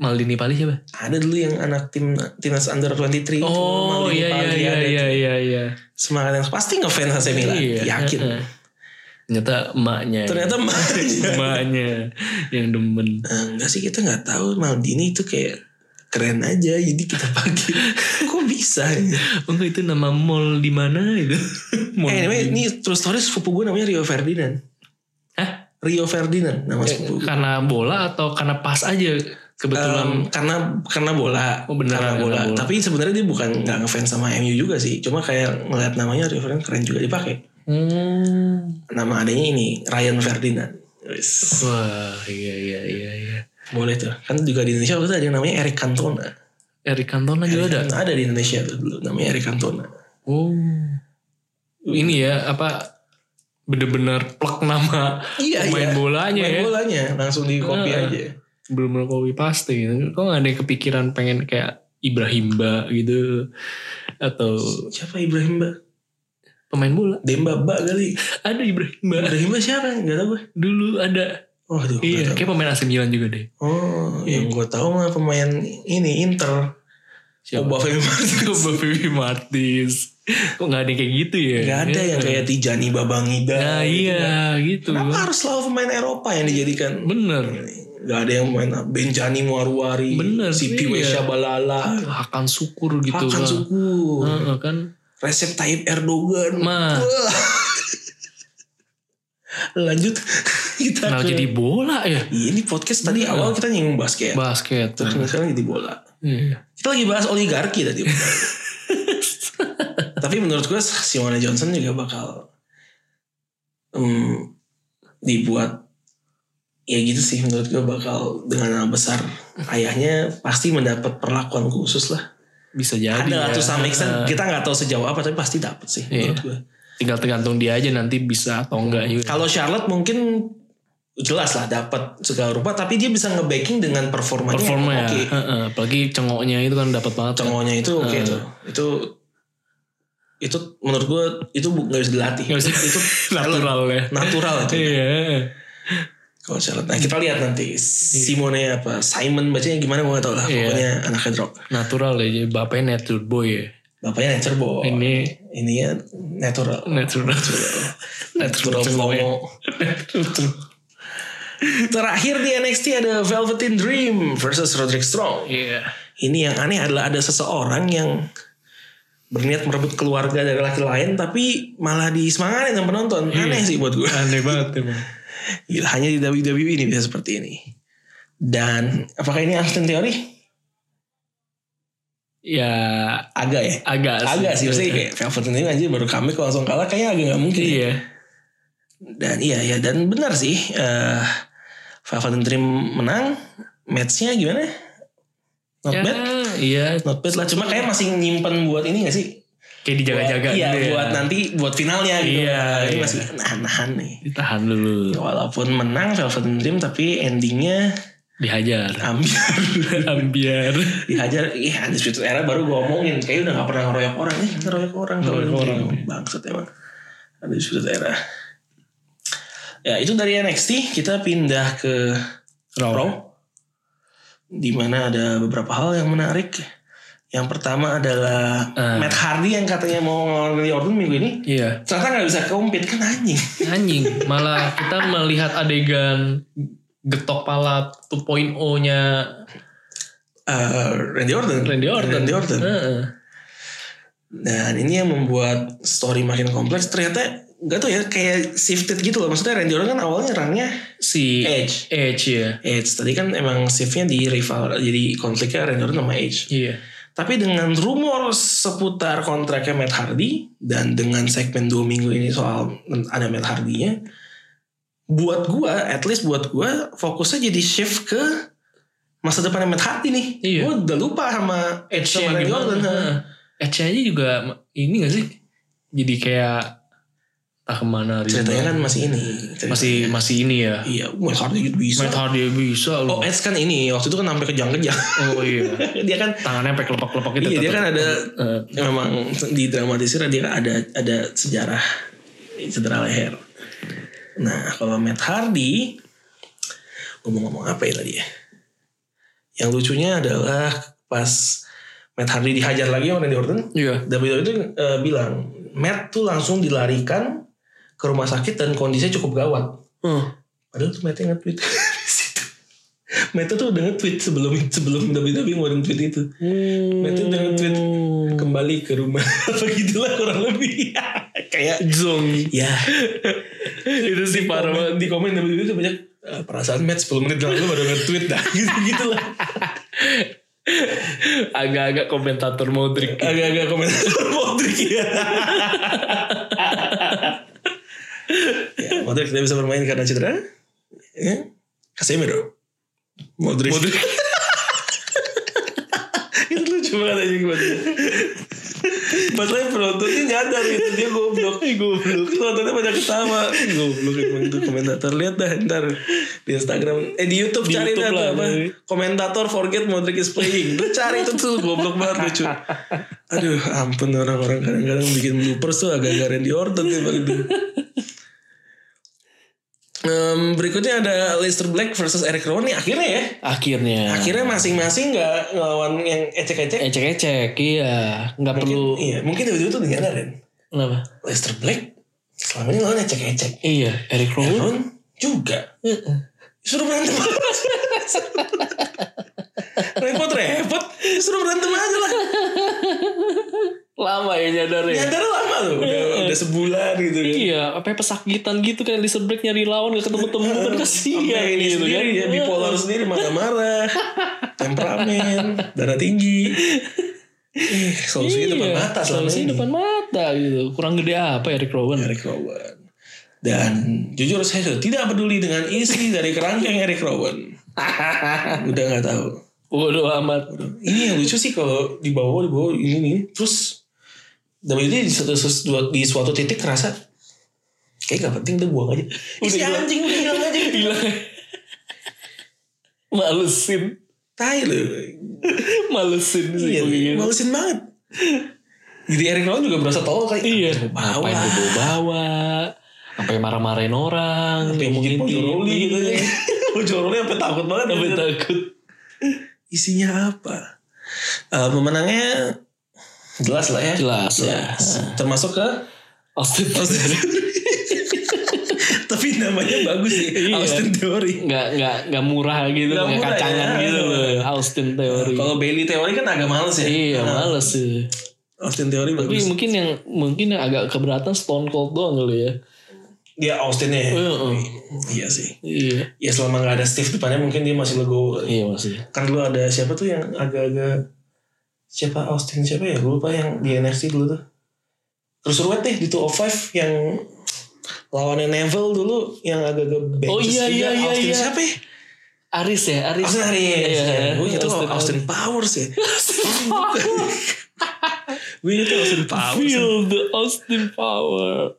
Speaker 2: Maldini Pali siapa?
Speaker 1: Ada dulu yang anak tim timnas under 23 itu,
Speaker 2: Oh
Speaker 1: Maldini
Speaker 2: iya
Speaker 1: Pali
Speaker 2: iya
Speaker 1: ada
Speaker 2: iya
Speaker 1: tuh.
Speaker 2: iya iya.
Speaker 1: Semangat yang pasti ngefans AC Milan.
Speaker 2: Iya,
Speaker 1: Yakin.
Speaker 2: heeh. Ternyata emaknya.
Speaker 1: Ternyata
Speaker 2: gitu. emaknya yang demen.
Speaker 1: Eh, enggak sih kita nggak tahu Maldini itu kayak keren aja jadi kita pakai kok bisa ya?
Speaker 2: Enggak Oh, itu nama mall di mana itu? Mall.
Speaker 1: eh anyway, ini true story sepupu gue namanya Rio Ferdinand
Speaker 2: Hah?
Speaker 1: Rio Ferdinand nama
Speaker 2: Eh,
Speaker 1: sepupu gue.
Speaker 2: Karena bola atau karena pas aja
Speaker 1: Em,
Speaker 2: kebetulan
Speaker 1: karena karena bola,
Speaker 2: Oh, beneran
Speaker 1: karena
Speaker 2: karena
Speaker 1: bola.
Speaker 2: bola.
Speaker 1: Tapi sebenarnya dia bukan nggak ngefans sama MU juga sih. Cuma kayak ngeliat namanya Rio Ferdinand keren juga dipakai.
Speaker 2: Hmm.
Speaker 1: Nama adanya ini Ryan Ferdinand. Wis.
Speaker 2: Wah, iya iya iya iya.
Speaker 1: Boleh tuh. Kan juga di Indonesia waktu itu ada yang namanya Eric Cantona.
Speaker 2: Eric Cantona Ah, juga
Speaker 1: Eric
Speaker 2: ada.
Speaker 1: Cantona Ada di Indonesia tuh dulu namanya Eric Cantona.
Speaker 2: Oh. Ini ya apa bener-bener plek nama
Speaker 1: Iya,
Speaker 2: pemain
Speaker 1: iya.
Speaker 2: bolanya
Speaker 1: Main
Speaker 2: ya.
Speaker 1: bolanya langsung di copy
Speaker 2: Heeh.
Speaker 1: aja.
Speaker 2: Belum belum copy paste gitu. Kok gak ada yang kepikiran pengen kayak Ibrahimba gitu atau
Speaker 1: Siapa Ibrahim Ba?
Speaker 2: pemain bola.
Speaker 1: Demba Ba kali.
Speaker 2: Ada Ibrahimba.
Speaker 1: Ibrahim Ba siapa? Gak tau gue.
Speaker 2: Dulu ada.
Speaker 1: Oh, aduh, nggak
Speaker 2: Iya,
Speaker 1: tahu.
Speaker 2: kayak pemain AC Milan juga deh.
Speaker 1: Oh, yang gue tahu mah pemain ini Inter. Obafemi Martin.
Speaker 2: Coba Vivi Martis. Kok gak ada yang kayak gitu ya?
Speaker 1: Gak ada yang kayak Tijani Babangida.
Speaker 2: Nah iya gitu.
Speaker 1: Kenapa harus selalu pemain Eropa yang dijadikan?
Speaker 2: Bener.
Speaker 1: Gak ada yang main Benjani Muarwari.
Speaker 2: Bener,
Speaker 1: Si Piwe
Speaker 2: iya.
Speaker 1: Shabalala.
Speaker 2: Hakan syukur gitu
Speaker 1: Hakan
Speaker 2: kan.
Speaker 1: suku.
Speaker 2: Heeh, kan.
Speaker 1: Resep Tayyip Erdogan.
Speaker 2: Mah.
Speaker 1: Wah. Lanjut. Kita
Speaker 2: Kenal
Speaker 1: ke-
Speaker 2: Nah, jadi bola ya?
Speaker 1: Ini podcast tadi
Speaker 2: Iya.
Speaker 1: awal kita nyinggung basket.
Speaker 2: Basket.
Speaker 1: Terus sekarang jadi bola.
Speaker 2: Iya.
Speaker 1: Kita lagi bahas oligarki tadi. Tapi menurut gue Simone Johnson juga bakal em, dibuat ya gitu sih menurut gue bakal dengan nama besar ayahnya pasti mendapat perlakuan khusus lah.
Speaker 2: Bisa jadi.
Speaker 1: Ada lah
Speaker 2: ya.
Speaker 1: tuh sama extent kita nggak tahu sejauh apa tapi pasti dapat sih
Speaker 2: Iya.
Speaker 1: menurut gue.
Speaker 2: Tinggal tergantung dia aja nanti bisa atau enggak ya. juga.
Speaker 1: Kalau Charlotte mungkin jelas lah dapat segala rupa tapi dia bisa nge-backing dengan performanya. yang
Speaker 2: Performa ya.
Speaker 1: Oke.
Speaker 2: Heeh, Apalagi cengoknya itu kan dapat banget. kan.
Speaker 1: cengonya itu oke
Speaker 2: Eh.
Speaker 1: tuh. Itu itu menurut gue itu bu- nggak bisa dilatih.
Speaker 2: Nggak bisa.
Speaker 1: Itu talent.
Speaker 2: Natural ya.
Speaker 1: natural itu.
Speaker 2: Iya.
Speaker 1: Paul Charlotte. Nah kita lihat nanti Simone apa Simon bacanya gimana gue gak tau lah.
Speaker 2: Iya.
Speaker 1: Pokoknya anaknya drop.
Speaker 2: Natural ya, jadi bapaknya natural boy ya.
Speaker 1: Bapaknya nature boy. Ini,
Speaker 2: Ini
Speaker 1: ya natural.
Speaker 2: natural. natural
Speaker 1: Natural
Speaker 2: boy.
Speaker 1: boy. Terakhir di NXT ada Velveteen Dream versus Roderick Strong.
Speaker 2: Iya.
Speaker 1: Ini yang aneh adalah ada seseorang yang berniat merebut keluarga dari laki lain tapi malah disemangatin sama penonton.
Speaker 2: Iya.
Speaker 1: Aneh sih buat gue.
Speaker 2: Aneh banget emang.
Speaker 1: Gila, hanya di WWE ini bisa seperti ini. Dan apakah ini Austin teori?
Speaker 2: Ya
Speaker 1: Agak ya.
Speaker 2: agak
Speaker 1: Agak sih gitu ya. pasti kayak Velveteen Dream anjir baru kami kok langsung kalah kayaknya agak nggak mungkin. ya.
Speaker 2: Iya.
Speaker 1: Dan iya ya dan benar sih eh Velveteen Dream menang. Matchnya gimana? Not
Speaker 2: Ya,
Speaker 1: bad.
Speaker 2: Iya.
Speaker 1: Not bad lah. Cuma kayak masih nyimpen buat ini gak sih?
Speaker 2: Kayak dijaga-jaga
Speaker 1: Buat- Iya
Speaker 2: gitu ya.
Speaker 1: buat nanti buat finalnya gitu.
Speaker 2: Iya,
Speaker 1: Ini
Speaker 2: iya.
Speaker 1: masih nahan-nahan nih.
Speaker 2: Ditahan dulu.
Speaker 1: Walaupun menang Velveteen Dream tapi endingnya
Speaker 2: Dihajar.
Speaker 1: ambiar.
Speaker 2: Ambiar.
Speaker 1: dihajar ih undisputed era baru gue omongin kayak udah gak pernah ngeroyok orang nih ngeroyok orang
Speaker 2: Ngeroyok
Speaker 1: kalau
Speaker 2: orang. iya.
Speaker 1: nanti. bangsat emang undisputed era ya itu dari NXT kita pindah ke
Speaker 2: Raw.
Speaker 1: Raw di mana ada beberapa hal yang menarik yang pertama adalah
Speaker 2: Ah.
Speaker 1: Matt Hardy yang katanya mau ngelawan Randy Orton minggu ini
Speaker 2: Iya.
Speaker 1: ternyata nggak bisa kompet kan anjing
Speaker 2: anjing malah kita melihat adegan getok pala 2.0 nya
Speaker 1: Eh, Randy Orton
Speaker 2: Randy Orton Eh.
Speaker 1: Randy Orton
Speaker 2: Heeh.
Speaker 1: Dan ini yang membuat story makin kompleks. Ternyata nggak tau ya kayak shifted gitu loh. Maksudnya Randy Orton kan awalnya nyerangnya
Speaker 2: si
Speaker 1: Edge.
Speaker 2: Edge ya
Speaker 1: Edge tadi kan emang shiftnya di rival jadi konfliknya Randy Orton sama Edge.
Speaker 2: iya
Speaker 1: Tapi dengan rumor seputar kontraknya Matt Hardy dan dengan segmen dua minggu ini soal ada Matt Hardy-nya, buat gua, at least buat gua fokusnya jadi shift ke masa depannya Matt Hardy nih.
Speaker 2: Iya.
Speaker 1: Gua udah lupa sama Edge
Speaker 2: Edge-nya
Speaker 1: sama Randy
Speaker 2: gimana? Iya.
Speaker 1: Orton.
Speaker 2: Heeh. Edge aja juga ma- ini gak sih jadi kayak tak kemana gitu.
Speaker 1: Ceritanya kan masih ini.
Speaker 2: masih masih ini ya
Speaker 1: Iya, Matt Hardy gitu bisa.
Speaker 2: Matt Hardy bisa
Speaker 1: Oh,
Speaker 2: loh
Speaker 1: Edge kan ini waktu itu kan sampai kejang-kejang.
Speaker 2: oh iya
Speaker 1: dia kan
Speaker 2: tangannya sampai kelopak-kelopak gitu
Speaker 1: iya, dia
Speaker 2: tetep.
Speaker 1: kan ada
Speaker 2: Eh,
Speaker 1: memang di dramatisir dia kan ada ada sejarah cedera leher. Nah, kalau Matt Hardy gue mau ngomong apa ya tadi ya? Yang lucunya adalah pas Matt Hardy dihajar lagi sama Randy Orton,
Speaker 2: iya
Speaker 1: WWE itu eh, bilang Matt tuh langsung dilarikan ke rumah sakit dan kondisinya cukup gawat. Oh.
Speaker 2: Heeh.
Speaker 1: Padahal tuh Meta nge-tweet di situ. Meta tuh udah nge-tweet sebelum sebelum WWE ngeluarin tweet itu. Meta udah nge-tweet
Speaker 2: Hmm.
Speaker 1: kembali ke rumah apa gitulah kurang lebih. Kayak
Speaker 2: Zong
Speaker 1: ya
Speaker 2: itu sih parah banget
Speaker 1: di komen WWE tuh banyak "Ah, perasaan match 10 menit lalu baru nge-tweet dah gitu gitulah.
Speaker 2: agak-agak komentator Modric
Speaker 1: Agak-agak komentar Modric ya. ya Modric tidak bisa bermain karena cedera. Ya. Casemiro. Modric.
Speaker 2: Modric.
Speaker 1: itu lucu banget aja gue. Padahal penontonnya nyadar gitu dia goblok. goblok. Penontonnya pada ketawa. Goblok emang tuh komentator lihat dah ntar di Instagram eh di YouTube
Speaker 2: Di
Speaker 1: cari
Speaker 2: YouTube
Speaker 1: dah tuh
Speaker 2: lah,
Speaker 1: apa.
Speaker 2: Modric.
Speaker 1: Komentator forget Modric is playing. Lu cari itu tuh goblok banget lucu. Aduh ampun orang-orang kadang-kadang bikin bloopers tuh agak-agak Randy Orton tuh itu. Em, berikutnya ada Leicester Black versus Eric Rowan nih akhirnya ya.
Speaker 2: akhirnya
Speaker 1: Akhirnya masing-masing nggak ngelawan yang ecek-ecek.
Speaker 2: ecek-ecek iya nggak perlu
Speaker 1: Mungkin, iya, mungkin dari itu tuh nyadarin.
Speaker 2: kenapa
Speaker 1: Leicester Black selama ini lawan ecek-ecek.
Speaker 2: iya Eric
Speaker 1: Eric
Speaker 2: Rowan
Speaker 1: Rowan juga. Suruh berantem Repot-repot. Suruh berantem aja lah.
Speaker 2: lama ya nyadarnya
Speaker 1: Nyadar lama tuh. Udah, udah sebulan gitu kan.
Speaker 2: iya apa pesakitan gitu kan Elizabeth Break nyari lawan gak ketemu-temu kan kasihan
Speaker 1: Sampai ini
Speaker 2: gitu kan
Speaker 1: sendiri ya bipolar sendiri marah-marah, temperamen, darah tinggi. Ih, solusinya
Speaker 2: Iya,
Speaker 1: depan mata selama
Speaker 2: solusinya
Speaker 1: ini.
Speaker 2: depan mata gitu kurang gede apa Eric Rowan
Speaker 1: Eric Rowan. Dan jujur saya sudah tidak peduli dengan isi dari kerangkeng Eric Rowan. Udah nggak tahu.
Speaker 2: waduh amat
Speaker 1: Ini yang lucu sih kalau di bawah di bawah ini nih. Terus WWE di suatu, suatu- di suatu titik kerasa kayak gak penting udah buang aja. Isi
Speaker 2: Udah hilang.
Speaker 1: anjing udah hilang aja.
Speaker 2: hilang malesin
Speaker 1: Tai loh.
Speaker 2: malesin sih
Speaker 1: Iya,
Speaker 2: gua gitu.
Speaker 1: malesin banget. Jadi Eric Rowan juga berasa tolol kayak
Speaker 2: Iya.
Speaker 1: "Ah, gua
Speaker 2: Ngapain
Speaker 1: bawa.
Speaker 2: gue bawa? sampai marah-marahin orang
Speaker 1: Sampai mungkin
Speaker 2: ngomongin
Speaker 1: pojok
Speaker 2: tim.
Speaker 1: roli gitu ya. Pojok roli sampai takut banget.
Speaker 2: sampai
Speaker 1: Sampai takut.
Speaker 2: takut
Speaker 1: Isinya apa? Eh, pemenangnya jelas lah ya.
Speaker 2: jelas
Speaker 1: Ya,
Speaker 2: lah
Speaker 1: termasuk ke
Speaker 2: Austin
Speaker 1: tapi namanya bagus sih
Speaker 2: Iya.
Speaker 1: Austin Theory
Speaker 2: nggak nggak nggak murah gitu
Speaker 1: Nggak
Speaker 2: nggak
Speaker 1: murah,
Speaker 2: kacangan
Speaker 1: ya.
Speaker 2: gitu loh Austin teori
Speaker 1: kalau Bailey Theory kan agak males ya
Speaker 2: iya
Speaker 1: Nah,
Speaker 2: males sih
Speaker 1: Austin Theory
Speaker 2: tapi
Speaker 1: bagus
Speaker 2: mungkin yang mungkin yang agak keberatan Stone Cold doang kali ya
Speaker 1: dia Austinnya ya?
Speaker 2: Heeh.
Speaker 1: iya sih
Speaker 2: iya
Speaker 1: ya selama nggak ada Steve depannya mungkin dia masih legowo
Speaker 2: iya masih
Speaker 1: kan dulu ada siapa tuh yang agak-agak siapa Austin siapa ya gue lupa yang di NXT dulu tuh Cruiserweight deh di 205 yang lawannya Neville dulu yang agak-agak
Speaker 2: Oh,
Speaker 1: benches
Speaker 2: iya,
Speaker 1: juga.
Speaker 2: iya, iya,
Speaker 1: Austin
Speaker 2: iya.
Speaker 1: siapa ya?
Speaker 2: Aris ya Aris
Speaker 1: Austin Aries
Speaker 2: Iya,
Speaker 1: gue itu
Speaker 2: Austin
Speaker 1: Austin, Powers ya gue itu Austin Powers ya.
Speaker 2: Feel the Austin Power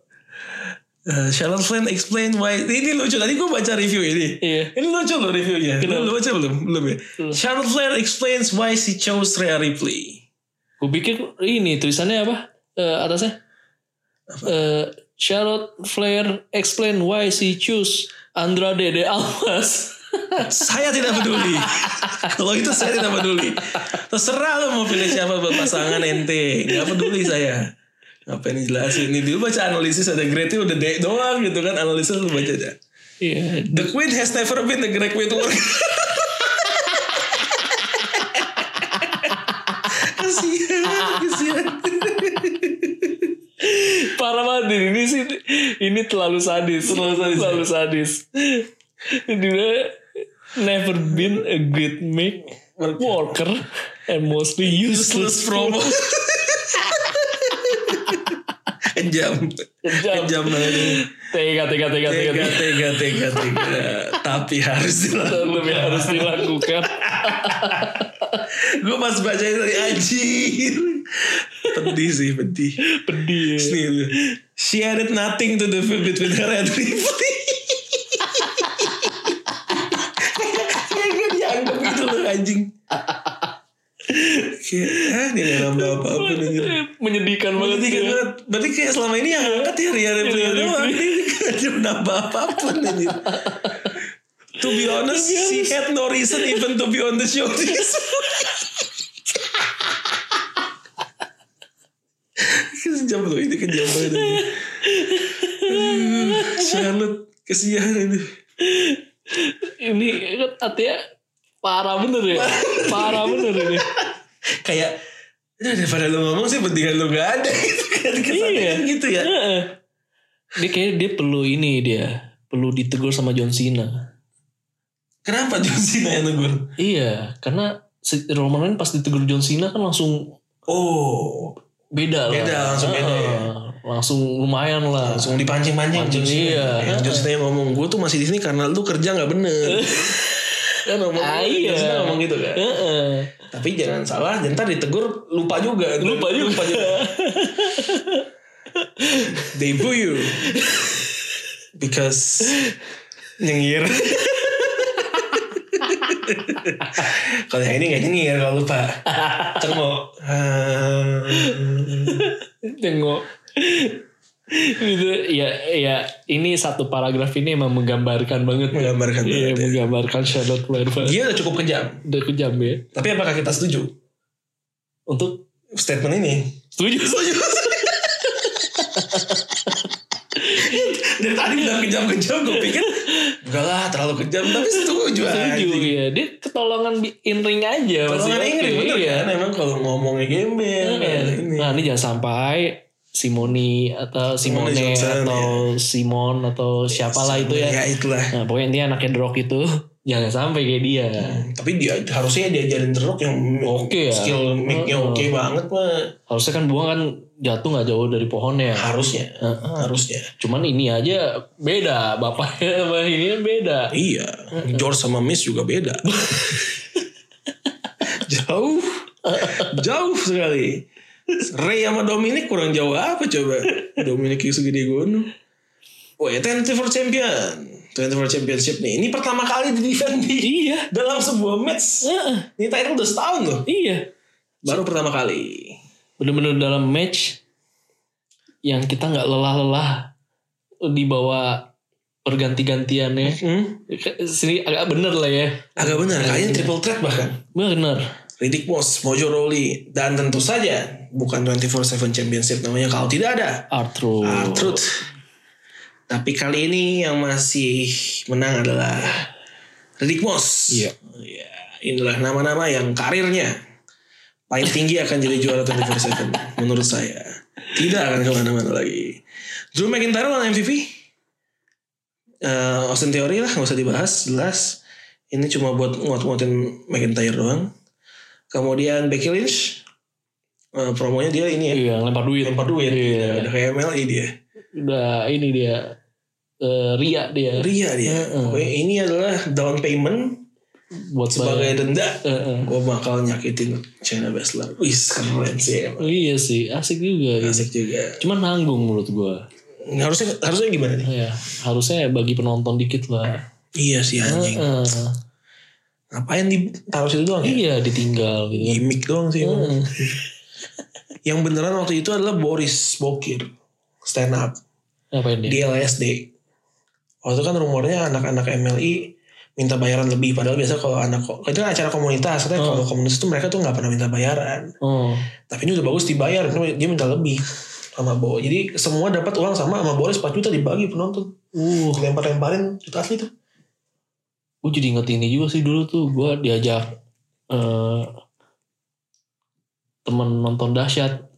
Speaker 1: Eh, Sharon Flynn explain why ini lucu tadi gue baca review ini
Speaker 2: iya
Speaker 1: Ini lucu loh reviewnya.
Speaker 2: Kenapa?
Speaker 1: Lu lu baca belum? Belum ya?
Speaker 2: Belum.
Speaker 1: Charlotte Flair explains why she chose Rhea Ripley.
Speaker 2: gue pikir ini tulisannya apa Eh, atasnya Eh, Charlotte Flair explain why she choose Andrade de Almas
Speaker 1: Saya tidak peduli. Kalau itu saya tidak peduli. Terserah lo mau pilih siapa buat pasangan ente. Gak peduli saya. Ngapain dijelasin? Ini dulu baca analisis ada grade udah D doang gitu kan. Analisis lu baca aja.
Speaker 2: iya
Speaker 1: The queen has never been the great way to work. kasihan, kasihan.
Speaker 2: Parah banget Din. ini sih ini terlalu sadis, terlalu sadis. ya? Terlalu sadis. Dia never been a great make worker and mostly useless
Speaker 1: Useless
Speaker 2: from
Speaker 1: promo. Kejam.
Speaker 2: jam.
Speaker 1: kejam banget
Speaker 2: Tega, tega, tega, tega.
Speaker 1: tega
Speaker 2: tega.
Speaker 1: tega tega tega Ya, tapi harus dilakukan
Speaker 2: Tapi harus dilakukan.
Speaker 1: gue pas baca itu tadi anjir pedih sih pedih
Speaker 2: Pedih.
Speaker 1: Terus
Speaker 2: ya.
Speaker 1: nih itu, she added nothing to the food between her and Ripley kayak gue dianggap gitu loh anjing kayak ah ini gak nambah apa-apa denger
Speaker 2: Menyedihkan banget.
Speaker 1: Berarti kan
Speaker 2: ya.
Speaker 1: banget. Berarti kayak selama ini yang angkat ya Ria Ripley
Speaker 2: Ria
Speaker 1: doang.
Speaker 2: Ripley.
Speaker 1: Ini gak ada nambah apapun anjir. To be honest, she had no reason even to be on the show this week. Kejam loh ini kejam banget. ini. Aduh, Charlotte kesian ini.
Speaker 2: Ini kan artinya parah bener ya. Parah bener ini.
Speaker 1: Kayak "Aduh, daripada lu ngomong sih pentingan lu gak ada gitu kan kesannya
Speaker 2: Iya.
Speaker 1: kan gitu ya.
Speaker 2: Heeh. Dia kayaknya dia perlu ini dia. Perlu ditegur sama John Cena.
Speaker 1: Kenapa John Cena yang negur?
Speaker 2: Iya, karena si Roman Reigns pas ditegur John Cena kan langsung
Speaker 1: Oh,
Speaker 2: beda lah.
Speaker 1: Beda, langsung beda ya.
Speaker 2: Heeh, Langsung lumayan lah.
Speaker 1: langsung dipancing-pancing John
Speaker 2: Pancing,
Speaker 1: Cena.
Speaker 2: iya.
Speaker 1: Eh, John Cena yang ngomong gue tuh masih di sini karena lu kerja nggak bener. kan ngomong
Speaker 2: Ah,
Speaker 1: John Cena
Speaker 2: iya.
Speaker 1: ngomong gitu kan.
Speaker 2: Heeh.
Speaker 1: Tapi jangan salah, ntar ditegur lupa juga.
Speaker 2: Lupa juga.
Speaker 1: They boo you because nyengir. kalau yang ini nggak nyengir kalau lupa. Cengok. Ah, Hmm.
Speaker 2: Tengok. gitu ya ya ini satu paragraf ini emang menggambarkan banget
Speaker 1: Menggambarkan Iya.
Speaker 2: iya
Speaker 1: banget, ya.
Speaker 2: menggambarkan Charlotte Flair banget.
Speaker 1: Dia udah cukup kejam.
Speaker 2: udah kejam ya
Speaker 1: Tapi apakah kita setuju
Speaker 2: untuk
Speaker 1: statement ini?
Speaker 2: setuju
Speaker 1: Setuju. Dari tadi bilang kejam-kejam gue pikir enggak lah terlalu kejam tapi setuju
Speaker 2: setuju
Speaker 1: anjing.
Speaker 2: ya dia ketolongan bi- in ring aja
Speaker 1: Kalau
Speaker 2: masih
Speaker 1: nggak
Speaker 2: oke,
Speaker 1: Inggris bener Iya,
Speaker 2: iya.
Speaker 1: kan emang kalau ngomongnya gembel kayak ini.
Speaker 2: Nah ini jangan sampai Simoni atau Simone
Speaker 1: Simone Johnson, iya.
Speaker 2: atau Simon atau siapalah itu ya.
Speaker 1: Ya itulah.
Speaker 2: Nah pokoknya dia anaknya The Rock itu jangan sampai kayak dia.
Speaker 1: Iya. Tapi dia harusnya diajarin The Rock yang
Speaker 2: Oke ya.
Speaker 1: skill make-nya
Speaker 2: Heeh.
Speaker 1: oke banget mah
Speaker 2: Harusnya kan buang kan jatuh nggak jauh dari pohonnya.
Speaker 1: harusnya
Speaker 2: Heeh.
Speaker 1: harusnya.
Speaker 2: Cuman ini aja beda bapaknya sama ini beda.
Speaker 1: Iya, George sama Miss juga beda. jauh, jauh sekali. Ray sama Dominic kurang jauh apa coba? Dominic yang segede gunung. Oh ya, 24 champion. 24 championship nih. Ini pertama kali di defend di
Speaker 2: Iya.
Speaker 1: dalam sebuah match.
Speaker 2: Heeh.
Speaker 1: Ini title udah setahun loh.
Speaker 2: Iya.
Speaker 1: Baru pertama kali.
Speaker 2: Bener-bener dalam match yang kita nggak lelah-lelah dibawa berganti-gantiannya
Speaker 1: Hmm,
Speaker 2: sini agak bener lah ya
Speaker 1: agak benar, kayaknya triple threat bahkan.
Speaker 2: bener
Speaker 1: Riddick Moss, Mojo Rawley, dan tentu saja bukan 24/7 Championship namanya kalau tidak ada
Speaker 2: Arthur
Speaker 1: Artrud. Ah, Tapi kali ini yang masih menang adalah Riddick Moss.
Speaker 2: Iya.
Speaker 1: Ya, inilah nama-nama yang karirnya paling tinggi akan jadi juara 24/7 menurut saya. Tidak akan kemana-mana lagi. Drew McIntyre lawan MVP. Eh, Austin Theory lah nggak usah dibahas jelas. Ini cuma buat nguat-nguatin McIntyre doang. Kemudian Becky Lynch. Eh, promonya dia ini ya.
Speaker 2: iya lempar duit
Speaker 1: Lempar duit.
Speaker 2: Iya.
Speaker 1: Udah kayak MLI dia.
Speaker 2: udah ini dia eh, Ria dia
Speaker 1: Ria dia.
Speaker 2: Heeh.
Speaker 1: Pokoknya ini adalah down payment
Speaker 2: buat Eh, bayar.
Speaker 1: sebagai denda.
Speaker 2: Heeh.
Speaker 1: Gue bakal nyakitin China Basler. Wih keren sih. emang.
Speaker 2: iya sih asik juga gitu.
Speaker 1: Asik juga.
Speaker 2: cuman nanggung menurut gua
Speaker 1: Harusnya harusnya gimana nih?
Speaker 2: ya harusnya bagi penonton dikit lah
Speaker 1: Iya sih anjing.
Speaker 2: Heeh.
Speaker 1: Ngapain ditaruh situ doang ya?
Speaker 2: iya ditinggal gitu
Speaker 1: Gimik doang sih. emang.
Speaker 2: Heeh.
Speaker 1: Yang beneran waktu itu adalah Boris Bokir. Stand up.
Speaker 2: ngapain dia
Speaker 1: Di LSD. Waktu itu kan rumornya anak-anak MLI minta bayaran lebih. Padahal biasa kalau anak... Itu kan acara komunitas. Katanya kalau komunitas itu mereka tuh nggak pernah minta bayaran.
Speaker 2: oh
Speaker 1: tapi ini udah bagus dibayar dia minta lebih sama Bo jadi semua dapat uang sama sama Boris 4 juta dibagi penonton
Speaker 2: uh
Speaker 1: lempar lemparin juta asli tuh
Speaker 2: gue jadi inget ini juga sih dulu tuh gue diajak eh temen nonton dahsyat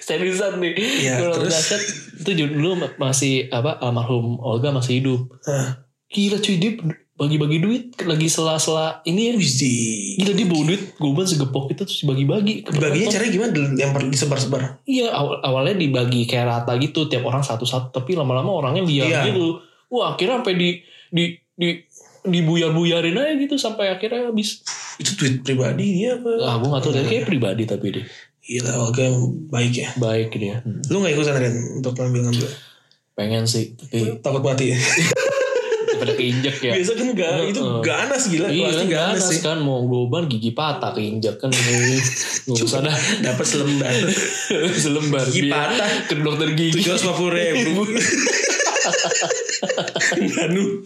Speaker 2: seriusan nih
Speaker 1: Iya,
Speaker 2: Gua
Speaker 1: terus?
Speaker 2: nonton dahsyat itu ju- dulu ma- masih apa almarhum Olga masih hidup
Speaker 1: Hah.
Speaker 2: gila cuy dia bagi-bagi duit lagi sela-sela ini ya
Speaker 1: Wih, di
Speaker 2: gila dia bawa duit gue segepok itu terus dibagi-bagi ke
Speaker 1: dibaginya
Speaker 2: penonton.
Speaker 1: caranya gimana dilempar disebar-sebar
Speaker 2: Iya aw- awalnya dibagi kayak rata gitu tiap orang satu-satu tapi lama-lama orangnya liar
Speaker 1: Iya.
Speaker 2: gitu. Wah akhirnya sampai di di di dibuyar-buyarin aja gitu sampai akhirnya habis.
Speaker 1: itu tweet pribadi dia apa
Speaker 2: Ah gue gak tau kayak pribadi tapi deh
Speaker 1: gila Olga yang baik ya
Speaker 2: baik dia.
Speaker 1: lu gak ikutan Ren untuk ngambil-ngambil
Speaker 2: Pengen sih tapi
Speaker 1: takut mati
Speaker 2: daripada keinjek ya.
Speaker 1: biasa kan gak itu
Speaker 2: Iya. Heeh.
Speaker 1: ganas gila
Speaker 2: Iya
Speaker 1: pasti
Speaker 2: kan
Speaker 1: ganas
Speaker 2: ganas
Speaker 1: sih
Speaker 2: kan mau goban gigi patah keinjek kan nggak usah dah
Speaker 1: dapat selembar
Speaker 2: selembar
Speaker 1: Gigi
Speaker 2: dia
Speaker 1: patah.
Speaker 2: ke dokter gigi
Speaker 1: tujuh ratus ribu Ganu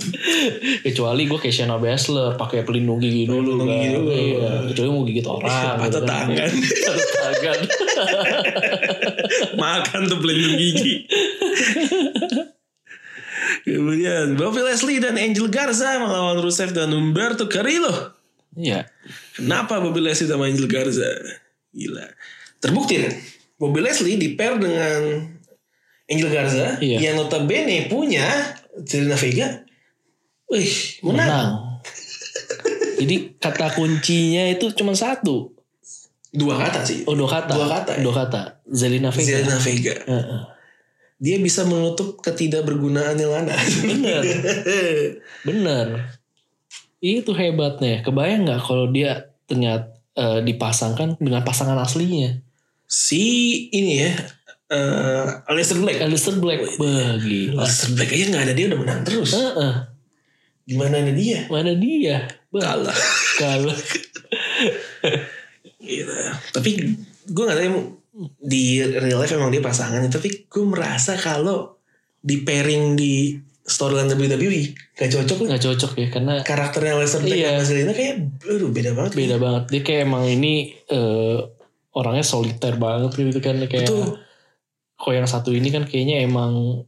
Speaker 2: kecuali gue kayak Shayna Baszler pakai pelindung gigi
Speaker 1: Pelindung
Speaker 2: dulu kan
Speaker 1: gigi dulu.
Speaker 2: iya kecuali mau gigit orang gitu
Speaker 1: patah
Speaker 2: kan.
Speaker 1: tangan
Speaker 2: Patah tangan
Speaker 1: makan tuh pelindung gigi. Kemudian Bobby Leslie dan Angel Garza melawan Rusev dan Humberto Carrillo.
Speaker 2: Iya.
Speaker 1: Kenapa Bobby Leslie sama Angel Garza? Gila. Terbukti kan? Bobby Leslie di pair dengan Angel Garza
Speaker 2: Iya.
Speaker 1: yang notabene punya Selena Vega. Wih, menang.
Speaker 2: menang. Jadi kata kuncinya itu cuma satu.
Speaker 1: Dua kata sih.
Speaker 2: Oh dua kata.
Speaker 1: Dua kata, ya?
Speaker 2: Dua kata. Zelina Vega.
Speaker 1: Selena Vega.
Speaker 2: Heeh.
Speaker 1: Dia bisa menutup ketidakbergunaannya Lana.
Speaker 2: Bener, bener. Itu hebatnya. Kebayang nggak kalau dia ternyata eh, dipasangkan dengan pasangan aslinya
Speaker 1: si ini ya, eh Aleister Black.
Speaker 2: Alistair Black bagi
Speaker 1: Leicester Black aja nggak ada dia udah menang terus.
Speaker 2: Heeh.
Speaker 1: Gimana ada dia?
Speaker 2: mana dia Bah,
Speaker 1: Kalah.
Speaker 2: kalau
Speaker 1: Gitu. Tapi gue nggak tahu emang di real life emang dia pasangan, ya, tapi gue merasa kalau di pairing di storyline WWE gak cocok lah.
Speaker 2: nggak cocok ya karena
Speaker 1: Karakternya Leicester Black
Speaker 2: Iya.
Speaker 1: sama Zelina kayak aduh beda banget.
Speaker 2: beda banget dia kayak emang ini eh, orangnya soliter banget gitu kan kayak
Speaker 1: Betul.
Speaker 2: kok yang satu ini kan kayaknya emang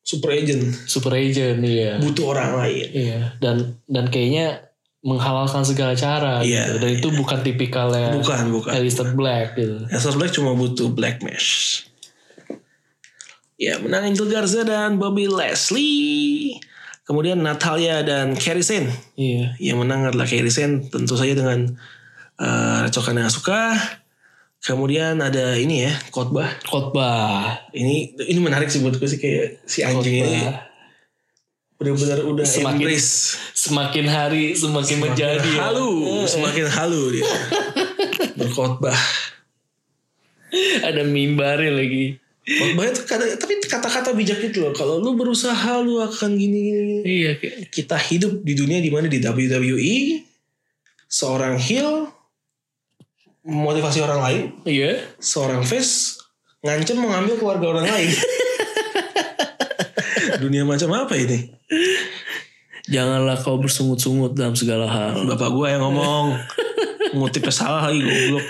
Speaker 1: Super agent
Speaker 2: super agent iya
Speaker 1: butuh orang lain.
Speaker 2: iya dan dan kayaknya menghalalkan segala cara
Speaker 1: Iya,
Speaker 2: gitu. dan itu bukan tipikalnya
Speaker 1: Bukan, bukan.
Speaker 2: Alistair Black gitu
Speaker 1: Leicester Black cuma butuh black mesh. Ya, menang Angel Garza dan Bobby Leslie. Kemudian Natalia dan Kerry Sane.
Speaker 2: iya
Speaker 1: yang menang adalah Kairi Sen tentu saja dengan eh, recokan yang suka kemudian ada ini ya khotbah
Speaker 2: khotbah
Speaker 1: ini ini menarik sih buat gue sih kayak si anjing ini
Speaker 2: khotbah
Speaker 1: benar-benar udah
Speaker 2: Semakin
Speaker 1: embrace
Speaker 2: semakin hari semakin, menjadi ya.
Speaker 1: halu semakin halu dia berkhotbah
Speaker 2: ada mimbarnya lagi
Speaker 1: khotbahnya tuh kata, tapi kata-kata bijak itu loh kalau lu berusaha lu akan gini, gini, gini.
Speaker 2: iya kayak
Speaker 1: kita hidup di dunia di mana di WWE seorang heel memotivasi orang lain
Speaker 2: iya
Speaker 1: seorang face ngancem mengambil keluarga orang lain. dunia macam apa ini?
Speaker 2: Janganlah kau bersungut-sungut dalam segala hal.
Speaker 1: Bapak gue yang ngomong ngutipnya salah lagi goblok.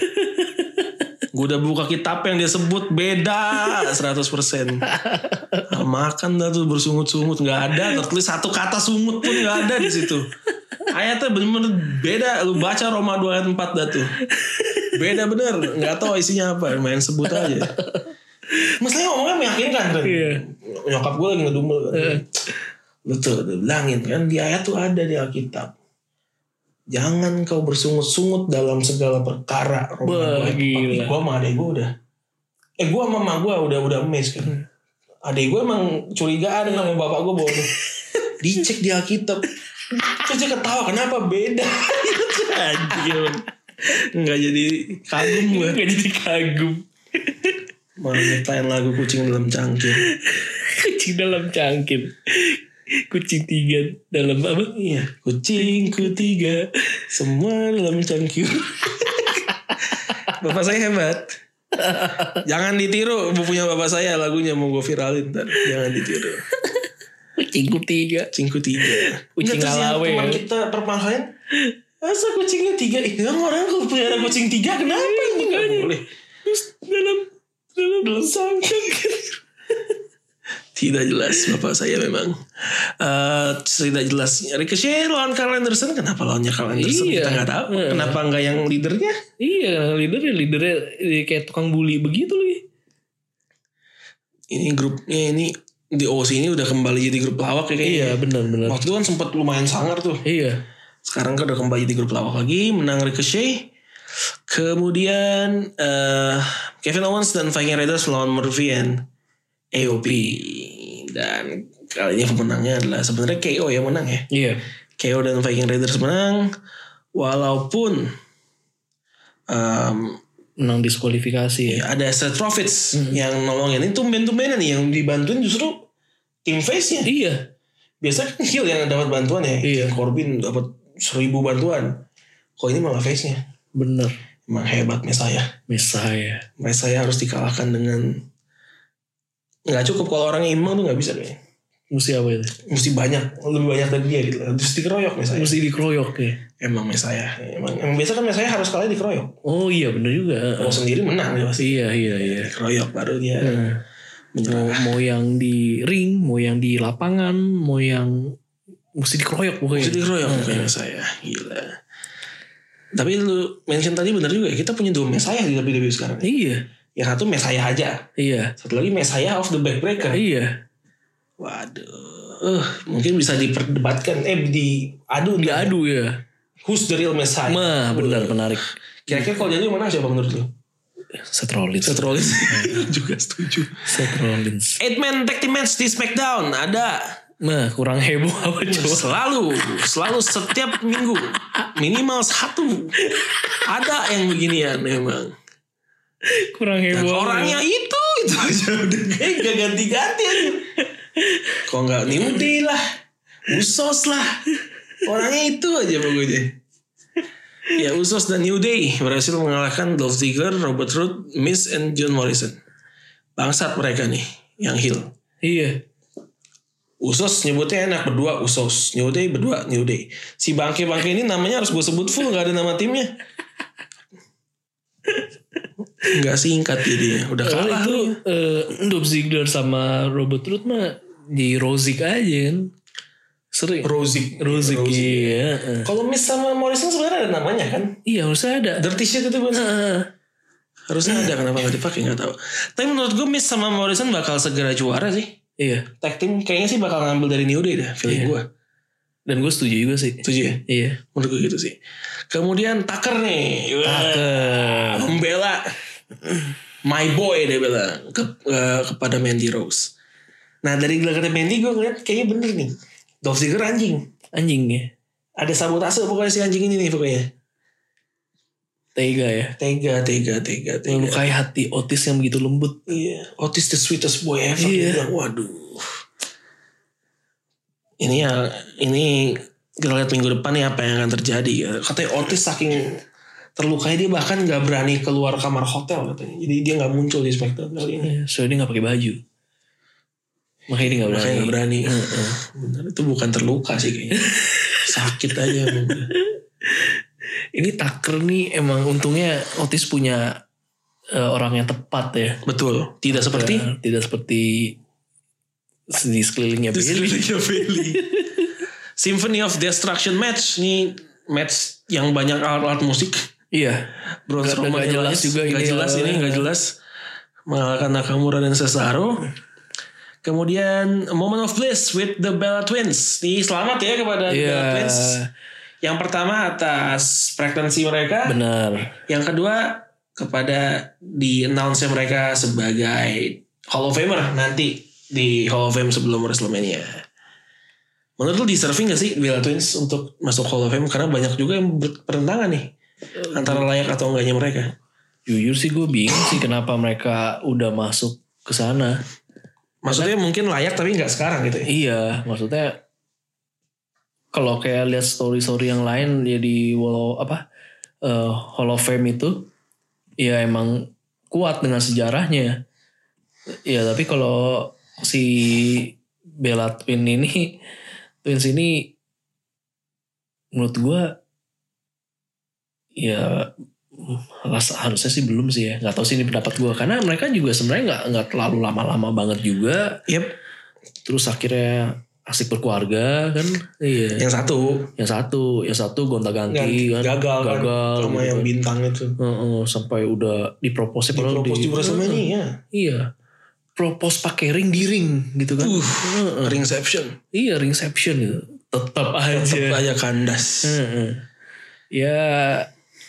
Speaker 1: Gue udah buka kitab yang dia sebut beda 100%. Nah, makan dah tuh bersungut-sungut nggak ada tertulis satu kata sungut pun nggak ada di situ. Ayatnya bener-bener beda lu baca Roma 2 ayat 4 dah tuh. Beda bener, nggak tahu isinya apa, main sebut aja. Maksudnya ngomongnya meyakinkan kan.
Speaker 2: Iya.
Speaker 1: Nyokap gue lagi ngedumel kan. Lu tuh udah bilangin kan di ayat tuh ada di Alkitab. Jangan kau bersungut-sungut dalam segala perkara.
Speaker 2: Wah,
Speaker 1: Roma 2 ayat 4. Ih,
Speaker 2: gila.
Speaker 1: Gua sama adek gue udah. Eh gue sama mama gue udah udah emes kan.
Speaker 2: Hmm.
Speaker 1: Adek gue emang curigaan sama bapak gue bawa Dicek di Alkitab. Terus dia ketawa kenapa beda. Anjir. Nggak jadi kagum gue.
Speaker 2: Gak jadi kagum.
Speaker 1: Mau nyiptain lagu kucing dalam cangkir.
Speaker 2: Kucing dalam cangkir. Kucing tiga dalam apa?
Speaker 1: Iya, kucingku tiga, semua dalam cangkir. bapak saya hebat. Jangan ditiru bu- punya bapak saya lagunya mau gue viralin ntar. Jangan ditiru.
Speaker 2: Kucingku tiga.
Speaker 1: Kucingku tiga.
Speaker 2: Kucing
Speaker 1: Nggak, terus yang
Speaker 2: ngalawe
Speaker 1: Teman
Speaker 2: ya.
Speaker 1: kita permasalahan. Masa kucingnya tiga? Ih, yang orang kalau punya kucing tiga
Speaker 2: Iya,
Speaker 1: kenapa ini nggak boleh?
Speaker 2: Terus dalam dalam dalam cangkir.
Speaker 1: Tidak jelas bapak saya memang. Eh, tidak jelas. Ricochet lawan Carl Anderson kenapa lawannya Carl Anderson
Speaker 2: Iya.
Speaker 1: kita nggak tahu.
Speaker 2: Iya.
Speaker 1: Kenapa nggak yang leadernya?
Speaker 2: Iya, leadernya leadernya eh, kayak tukang bully begitu lagi.
Speaker 1: ini grupnya ini di OC ini udah kembali jadi grup lawak ya kayaknya.
Speaker 2: Iya, benar-benar.
Speaker 1: Waktu itu kan sempat lumayan sangar tuh.
Speaker 2: Iya.
Speaker 1: Sekarang kan udah kembali jadi grup lawak lagi, menang Ricochet. Kemudian eh, Kevin Owens dan Viking Raiders melawan Murphy and AOP. Dan kali ini pemenangnya adalah sebenarnya KO ya menang ya.
Speaker 2: Iya.
Speaker 1: KO dan Viking Raiders menang. Walaupun em,
Speaker 2: Menang diskualifikasi ya.
Speaker 1: ada Seth Profits yang nolongin. Ini tumben-tumbenan nih yang dibantuin justru tim face-nya.
Speaker 2: Iya.
Speaker 1: biasanya kan heel yang dapat bantuan ya
Speaker 2: Iya.
Speaker 1: Corbin dapat seribu bantuan kok ini malah face nya
Speaker 2: Bener.
Speaker 1: emang hebat Messiah
Speaker 2: Messiah.
Speaker 1: Messiah harus dikalahkan dengan nggak cukup kalau orangnya imbang tuh nggak bisa kayaknya
Speaker 2: Mesti apa itu?
Speaker 1: mesti banyak lebih banyak dari dia gitu harus dikeroyok Messiah
Speaker 2: Mesti dikeroyok ya.
Speaker 1: emang Messiah emang, emang biasa kan Messiah harus kalah dikeroyok
Speaker 2: Oh iya bener juga.
Speaker 1: kalau sendiri menang dia pasti
Speaker 2: Iya iya iya.
Speaker 1: dikeroyok baru dia
Speaker 2: Nah, mau,
Speaker 1: menyerang
Speaker 2: mau yang di ring, mau yang di lapangan, mau yang mesti dikeroyok pokoknya. Hmm.
Speaker 1: mesti dikeroyok kayak Messiah gila tapi lu mention tadi bener juga ya kita punya dua Messiah di WWE sekarang ya.
Speaker 2: Iya.
Speaker 1: yang satu Messiah aja
Speaker 2: Iya.
Speaker 1: Satu lagi Messiah of the Backbreaker.
Speaker 2: Iya.
Speaker 1: Waduh, eh, mungkin bisa diperdebatkan. Eh, diadu
Speaker 2: Nggak
Speaker 1: nggak?
Speaker 2: adu ya.
Speaker 1: Who's the real Messiah?
Speaker 2: Mah benar menarik.
Speaker 1: Kira-kira kalau jadi mana siapa menurut lu?
Speaker 2: Seth Rollins.
Speaker 1: Seth Rollins juga setuju.
Speaker 2: Seth Rollins.
Speaker 1: Eight man tag team match di SmackDown ada
Speaker 2: Nah kurang heboh apa coba?
Speaker 1: selalu, selalu setiap minggu minimal satu ada yang beginian emang.
Speaker 2: Kurang
Speaker 1: Dan
Speaker 2: heboh.
Speaker 1: orangnya itu itu aja udah kayak gak Eh, ganti-ganti aja. Kok nggak New Day lah, Usos lah, orangnya itu aja pokoknya. Ya Usos dan New Day berhasil mengalahkan Dolph Ziggler, Robert Roode, Miz, and John Morrison. Bangsat mereka nih yang heel.
Speaker 2: Iya.
Speaker 1: Usos nyebutnya enak berdua Usos, New Day berdua New Day. Si bangke-bangke ini namanya harus gue sebut full nggak ada nama timnya. Nggak singkat jadi udah
Speaker 2: Kalau
Speaker 1: kalah.
Speaker 2: itu eh Dolph Ziggler sama Robert Root mah di Rozik aja kan. Sering.
Speaker 1: Rozik.
Speaker 2: Rozik, iya. eh.
Speaker 1: Kalau Miss sama Morrison sebenarnya ada namanya kan?
Speaker 2: Iya harusnya ada.
Speaker 1: Dirty shit itu bener.
Speaker 2: Heeh.
Speaker 1: Harusnya ada kenapa nggak dipakai nggak tahu. Tapi menurut gue Miss sama Morrison bakal segera juara sih.
Speaker 2: Iya.
Speaker 1: Tag team kayaknya sih bakal ngambil dari New Day dah, feeling
Speaker 2: Iya.
Speaker 1: gue.
Speaker 2: Dan gue setuju juga sih.
Speaker 1: Setuju ya?
Speaker 2: Iya.
Speaker 1: Menurut gue gitu sih. Kemudian Tucker nih. Wah,
Speaker 2: Tucker.
Speaker 1: Membela my boy dia bela ke- eh, kepada Mandy Rose. Nah dari gelagatnya Mandy gue ngeliat kayaknya bener nih. Dolph Ziggler anjing.
Speaker 2: Anjing ya.
Speaker 1: Ada sabotase pokoknya si anjing ini nih pokoknya.
Speaker 2: Tega ya.
Speaker 1: Tega, tega, tega, tega.
Speaker 2: Melukai hati Otis yang begitu lembut.
Speaker 1: Iya, Otis the sweetest boy ever.
Speaker 2: Iya.
Speaker 1: Dia bilang, Waduh. Ini ya, ini kita lihat minggu depan nih apa yang akan terjadi. ya. Katanya Otis saking terlukai dia bahkan nggak berani keluar kamar hotel katanya. Jadi dia nggak muncul di SmackDown kali ini.
Speaker 2: Iya, Soalnya dia gak pakai baju. Makanya dia gak
Speaker 1: Makanya
Speaker 2: berani.
Speaker 1: nggak berani. Heeh. Bener itu bukan terluka sih kayaknya. Sakit aja emang.
Speaker 2: Ini Tucker nih emang untungnya Otis punya eh, orang yang tepat ya.
Speaker 1: Betul. Iya. Tidak seperti
Speaker 2: Eh, tidak seperti di sekelilingnya
Speaker 1: The
Speaker 2: Billy.
Speaker 1: Valley. Symphony of Destruction match nih match yang banyak alat-alat musik.
Speaker 2: Iya.
Speaker 1: Bronze
Speaker 2: Nggak-
Speaker 1: Roman
Speaker 2: nggak jelas
Speaker 1: Elias.
Speaker 2: juga
Speaker 1: nggak
Speaker 2: ini eh,
Speaker 1: jelas ini
Speaker 2: awalnya.
Speaker 1: nggak jelas mengalahkan Nakamura dan Cesaro. Kemudian Moment of Bliss with the Bella Twins. Nih selamat ya kepada the
Speaker 2: Iya.
Speaker 1: Bella Twins. Yang pertama atas pregnancy mereka.
Speaker 2: Benar.
Speaker 1: Yang kedua kepada di announce mereka sebagai Hall of Famer nanti di Hall of Fame sebelum WrestleMania. Menurut lu deserving gak sih Bella Twins untuk masuk Hall of Fame karena banyak juga yang bertentangan nih
Speaker 2: Eh,
Speaker 1: antara layak atau enggaknya mereka.
Speaker 2: Jujur sih gue bingung sih kenapa mereka udah masuk ke sana.
Speaker 1: Maksudnya mungkin layak tapi nggak sekarang gitu. ya.
Speaker 2: Iya, maksudnya kalau kayak lihat story-story yang lain jadi wall apa eh, Hall of Fame itu ya emang kuat dengan sejarahnya. Ya tapi kalau si Bella Twin ini Twins ini menurut gua ya hmm, ras- harusnya sih belum sih ya nggak tahu sih ini pendapat gua karena mereka juga sebenarnya nggak nggak terlalu lama-lama banget juga
Speaker 1: Yep.
Speaker 2: terus akhirnya asik berkeluarga kan iya
Speaker 1: Yang satu
Speaker 2: yang satu yang satu gonta-ganti kan
Speaker 1: gagal, kan
Speaker 2: gagal
Speaker 1: sama
Speaker 2: gitu
Speaker 1: yang
Speaker 2: kan.
Speaker 1: bintang itu.
Speaker 2: Heeh, sampai udah diproposnya padahal
Speaker 1: Dipropos di WrestleMania. ya.
Speaker 2: Heeh, iya propose pakai ring di ring gitu kan
Speaker 1: Uh,
Speaker 2: Heeh.
Speaker 1: Ringception.
Speaker 2: iya ringception gitu tetap
Speaker 1: Tetep
Speaker 2: aja
Speaker 1: aja kandas.
Speaker 2: Heeh. ya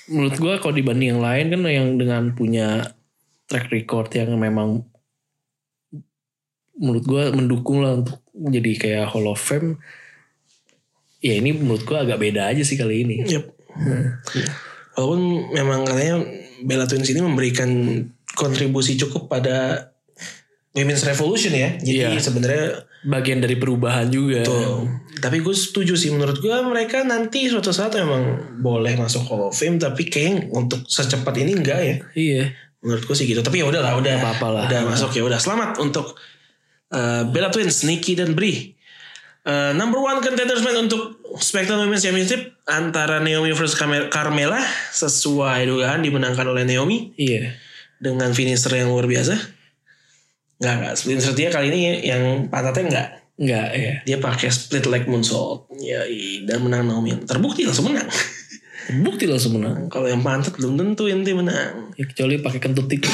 Speaker 2: menurut gua kalau dibanding yang lain kan yang dengan punya track record yang memang menurut gua mendukung lah untuk jadi kayak Hall of Fame ya ini menurut gua agak beda aja sih kali ini
Speaker 1: Yep.
Speaker 2: Hmm.
Speaker 1: Walaupun memang katanya Bella Twins ini memberikan kontribusi cukup pada Women's Revolution ya. Jadi
Speaker 2: Iya.
Speaker 1: sebenarnya
Speaker 2: bagian dari perubahan juga
Speaker 1: tuh. Tapi gue setuju sih menurut gue mereka nanti suatu saat memang boleh masuk Hall of Fame tapi kayaknya untuk secepat ini enggak ya.
Speaker 2: iya
Speaker 1: Menurutku sih gitu. Tapi ya udahlah, udah
Speaker 2: Nggak apa-apa lah.
Speaker 1: Udah masuk ya, udah selamat untuk eh, Bella Twins, Nikki dan Brie. Eh, number one contenders man untuk SmackDown Women's Championship antara Naomi versus Carme- Carmella sesuai dugaan dimenangkan oleh Naomi
Speaker 2: iya
Speaker 1: dengan finisher yang luar biasa. Enggak, enggak. Finisher dia kali ini yang pantatnya enggak.
Speaker 2: enggak ya
Speaker 1: Dia pakai split leg moonsault. Yoi, dan menang Naomi. Terbukti langsung menang.
Speaker 2: bukti langsung menang
Speaker 1: Kalau yang pantat belum tentu inti menang.
Speaker 2: ya, kecuali pakai kentut dikit.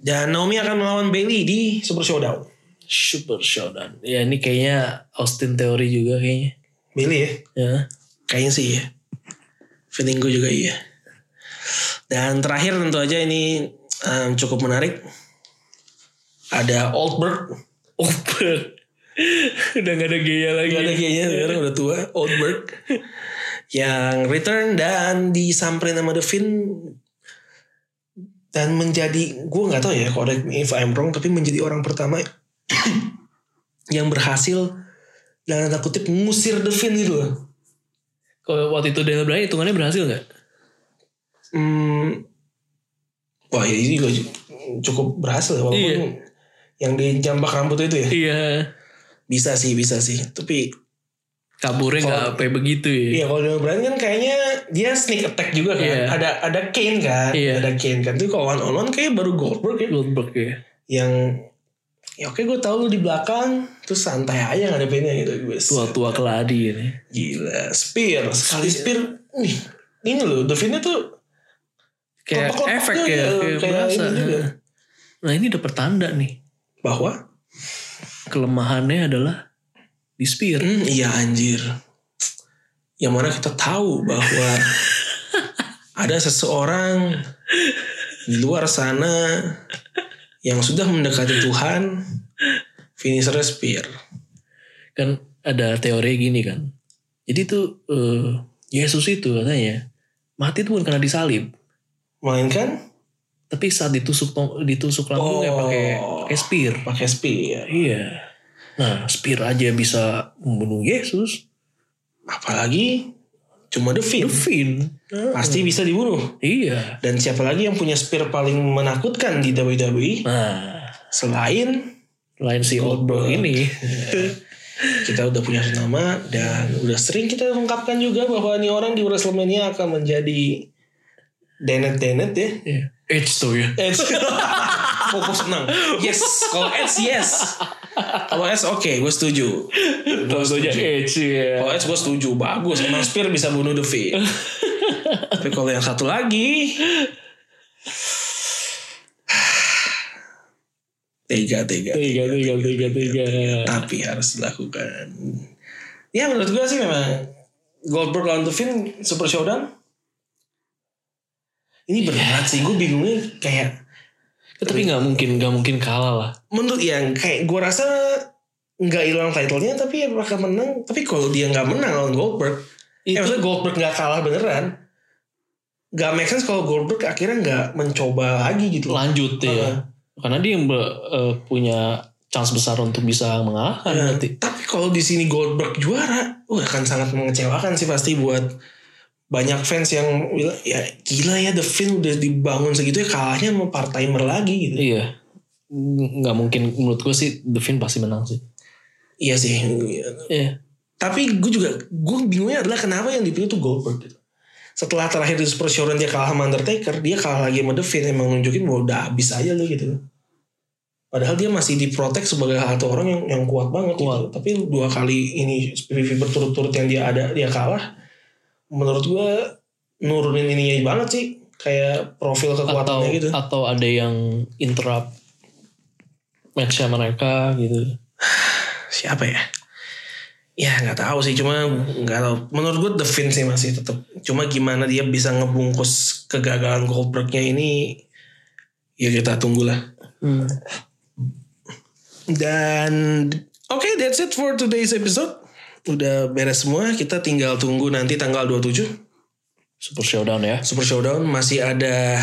Speaker 1: Dan Naomi akan melawan Bailey di Super Showdown.
Speaker 2: super showdown ya ini kayaknya Austin teori juga kayaknya
Speaker 1: Bailey ya?
Speaker 2: ya
Speaker 1: Kayaknya sih ya. Feeling gue juga iya. Dan terakhir tentu aja ini em, cukup menarik. Ada Oldberg.
Speaker 2: Open. Udah gak ada gaya lagi.
Speaker 1: Gak ada kayaknya sekarang udah tua. Oldberg. yang return dan disamperin sama The Finn. Dan menjadi, gue gak tahu ya correct me if I'm wrong. Tapi menjadi orang pertama yang berhasil dalam tanda kutip ngusir The Finn gitu loh.
Speaker 2: Kalau waktu itu Daniel Bryan hitungannya berhasil gak?
Speaker 1: Hmm, wah ini juga cukup berhasil ya, walaupun
Speaker 2: Iya.
Speaker 1: yang dijambak rambut itu ya
Speaker 2: Iya.
Speaker 1: bisa sih bisa sih tapi
Speaker 2: Kaburnya
Speaker 1: Kalau-
Speaker 2: gak sampai begitu ya.
Speaker 1: iya kalau Daniel Bryan kan kayaknya dia sneak attack juga kan
Speaker 2: Iya.
Speaker 1: ada ada Kane kan
Speaker 2: Iya.
Speaker 1: ada Kane kan itu kalau one on one kayak baru Goldberg ya
Speaker 2: Goldberg ya.
Speaker 1: yang ya oke gue tahu lu di belakang terus santai aja ngadepinnya gitu gue
Speaker 2: Tua-tua keladi ini.
Speaker 1: gila spear sekali spear nih ini loh Devinnya tuh
Speaker 2: Kayak
Speaker 1: Kotak-kotak
Speaker 2: efek
Speaker 1: juga
Speaker 2: ya.
Speaker 1: ya,
Speaker 2: Kayak
Speaker 1: kayak
Speaker 2: berasa.
Speaker 1: ini juga.
Speaker 2: Nah ini udah pertanda nih.
Speaker 1: bahwa
Speaker 2: Kelemahannya adalah di spear.
Speaker 1: Hmm, iya anjir. Yang mana kita tahu bahwa ada seseorang di luar sana yang sudah mendekati Tuhan, finisher spear.
Speaker 2: kan ada teori gini kan. Jadi tuh eh, Yesus itu katanya mati itu bukan karena disalib,
Speaker 1: Melainkan
Speaker 2: tapi saat ditusuk tong- ditusuk lambungnya
Speaker 1: Oh.
Speaker 2: pakai pakai spear.
Speaker 1: pakai spear.
Speaker 2: Iya. Nah, spear aja bisa membunuh Yesus.
Speaker 1: Apalagi cuma The Fiend.
Speaker 2: Devin.
Speaker 1: Pasti bisa dibunuh.
Speaker 2: Iya.
Speaker 1: Dan siapa lagi yang punya spear paling menakutkan di WWE
Speaker 2: Nah,
Speaker 1: E? selain
Speaker 2: lain si Oldberg ini.
Speaker 1: kita udah punya nama dan udah sering kita ungkapkan juga bahwa ini orang di Wrestlemania akan menjadi denet-denet ya.
Speaker 2: Iya. Edge tuh ya.
Speaker 1: Edge. Fokus senang. Yes. Kalau Edge yes. Kalau Edge oke, gue setuju. Gue
Speaker 2: Tentu aja
Speaker 1: setuju.
Speaker 2: Edge ya.
Speaker 1: Kalau Edge gue setuju. Bagus. Emang Spear bisa bunuh The Fiend. Tapi kalau yang satu lagi. Tega, tega.
Speaker 2: Tiga, tiga, tiga, tiga. Ya,
Speaker 1: tapi harus dilakukan. Ya menurut gue sih memang Goldberg lawan The Fiend Super Showdown ini berat sih gue bingungnya kayak
Speaker 2: Tapi nggak mungkin, nggak mungkin kalah lah.
Speaker 1: menurut yang kayak gue rasa nggak hilang titlenya tapi ya bakal menang tapi kalau dia nggak menang lawan Goldberg ya
Speaker 2: Itu
Speaker 1: maksudnya Goldberg nggak kalah beneran nggak make sense kalau Goldberg akhirnya nggak mencoba lagi gitu
Speaker 2: lanjut ya.
Speaker 1: Heeh.
Speaker 2: Karena dia yang be- eh, punya chance besar untuk bisa mengalahkan
Speaker 1: Nah,
Speaker 2: nanti.
Speaker 1: Tapi kalau di sini Goldberg juara, wah akan sangat mengecewakan sih pasti buat banyak fans yang bilang ya gila ya The Fiend udah dibangun segitu ya kalahnya sama part timer lagi gitu.
Speaker 2: Iya. Nggak mungkin menurut gue sih The Fiend pasti menang sih.
Speaker 1: Iya sih.
Speaker 2: Iya.
Speaker 1: Tapi gue juga gue bingungnya adalah kenapa yang dipilih tuh Goldberg gitu. Setelah terakhir di Super Showdown dia kalah sama Undertaker, dia kalah lagi sama The Fiend emang nunjukin bahwa udah habis aja lu gitu. Padahal dia masih diprotek sebagai satu orang yang yang kuat banget gitu.
Speaker 2: Kuat.
Speaker 1: Tapi dua kali ini PVV berturut-turut yang dia ada dia kalah. Menurut gue nurunin ininya banget sih kayak profil
Speaker 2: Atau
Speaker 1: kekuatannya gitu.
Speaker 2: atau ada yang interrupt matchnya mereka gitu.
Speaker 1: siapa ya ya nggak tahu sih cuma nggak tahu menurut gue The Fiend sih masih tetap cuma gimana dia bisa ngebungkus kegagalan Goldbergnya ini ya kita tunggulah dan oke that's it for today's episode udah beres semua kita tinggal tunggu nanti tanggal 27
Speaker 2: Super Showdown ya.
Speaker 1: Super Showdown masih ada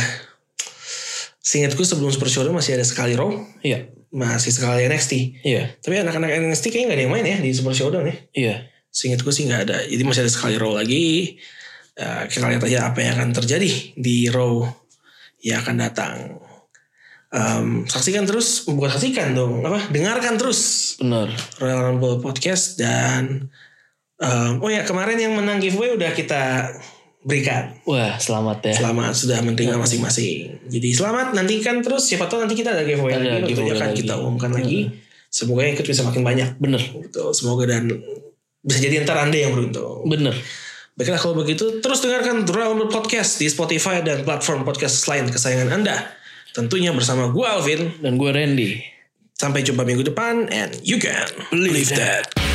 Speaker 1: seingatku sebelum Super Showdown masih ada sekali Raw
Speaker 2: Iya.
Speaker 1: masih sekali NXT
Speaker 2: Iya.
Speaker 1: tapi anak-anak NXT kayaknya nggak ada yang main ya di Super Showdown ya
Speaker 2: Iya.
Speaker 1: Seingat gue sih nggak ada. Jadi masih ada sekali row lagi. Eh, kita lihat aja apa yang akan terjadi di row yang akan datang. Em, saksikan terus, bukan saksikan dong, apa? Dengarkan terus
Speaker 2: Benar.
Speaker 1: Royal Rumble podcast dan em, oh ya kemarin yang menang giveaway udah kita berikan.
Speaker 2: Wah, selamat ya.
Speaker 1: Selamat sudah menerima masing-masing. Jadi selamat nantikan terus. Siapa tahu nanti kita ada giveaway
Speaker 2: Ada
Speaker 1: lagi. Tentunya
Speaker 2: giveaway
Speaker 1: akan
Speaker 2: lagi. Iya.
Speaker 1: kita umumkan lagi. Semoga yang ikut bisa makin banyak.
Speaker 2: Bener.
Speaker 1: Gitu. Semoga dan bisa jadi ntar anda yang beruntung.
Speaker 2: Bener.
Speaker 1: Baiklah kalau begitu terus dengarkan Dural Podcast di Spotify dan platform podcast lain kesayangan Anda. Tentunya bersama gue Alvin.
Speaker 2: Dan gue Randy.
Speaker 1: Sampai jumpa minggu depan and you can believe that.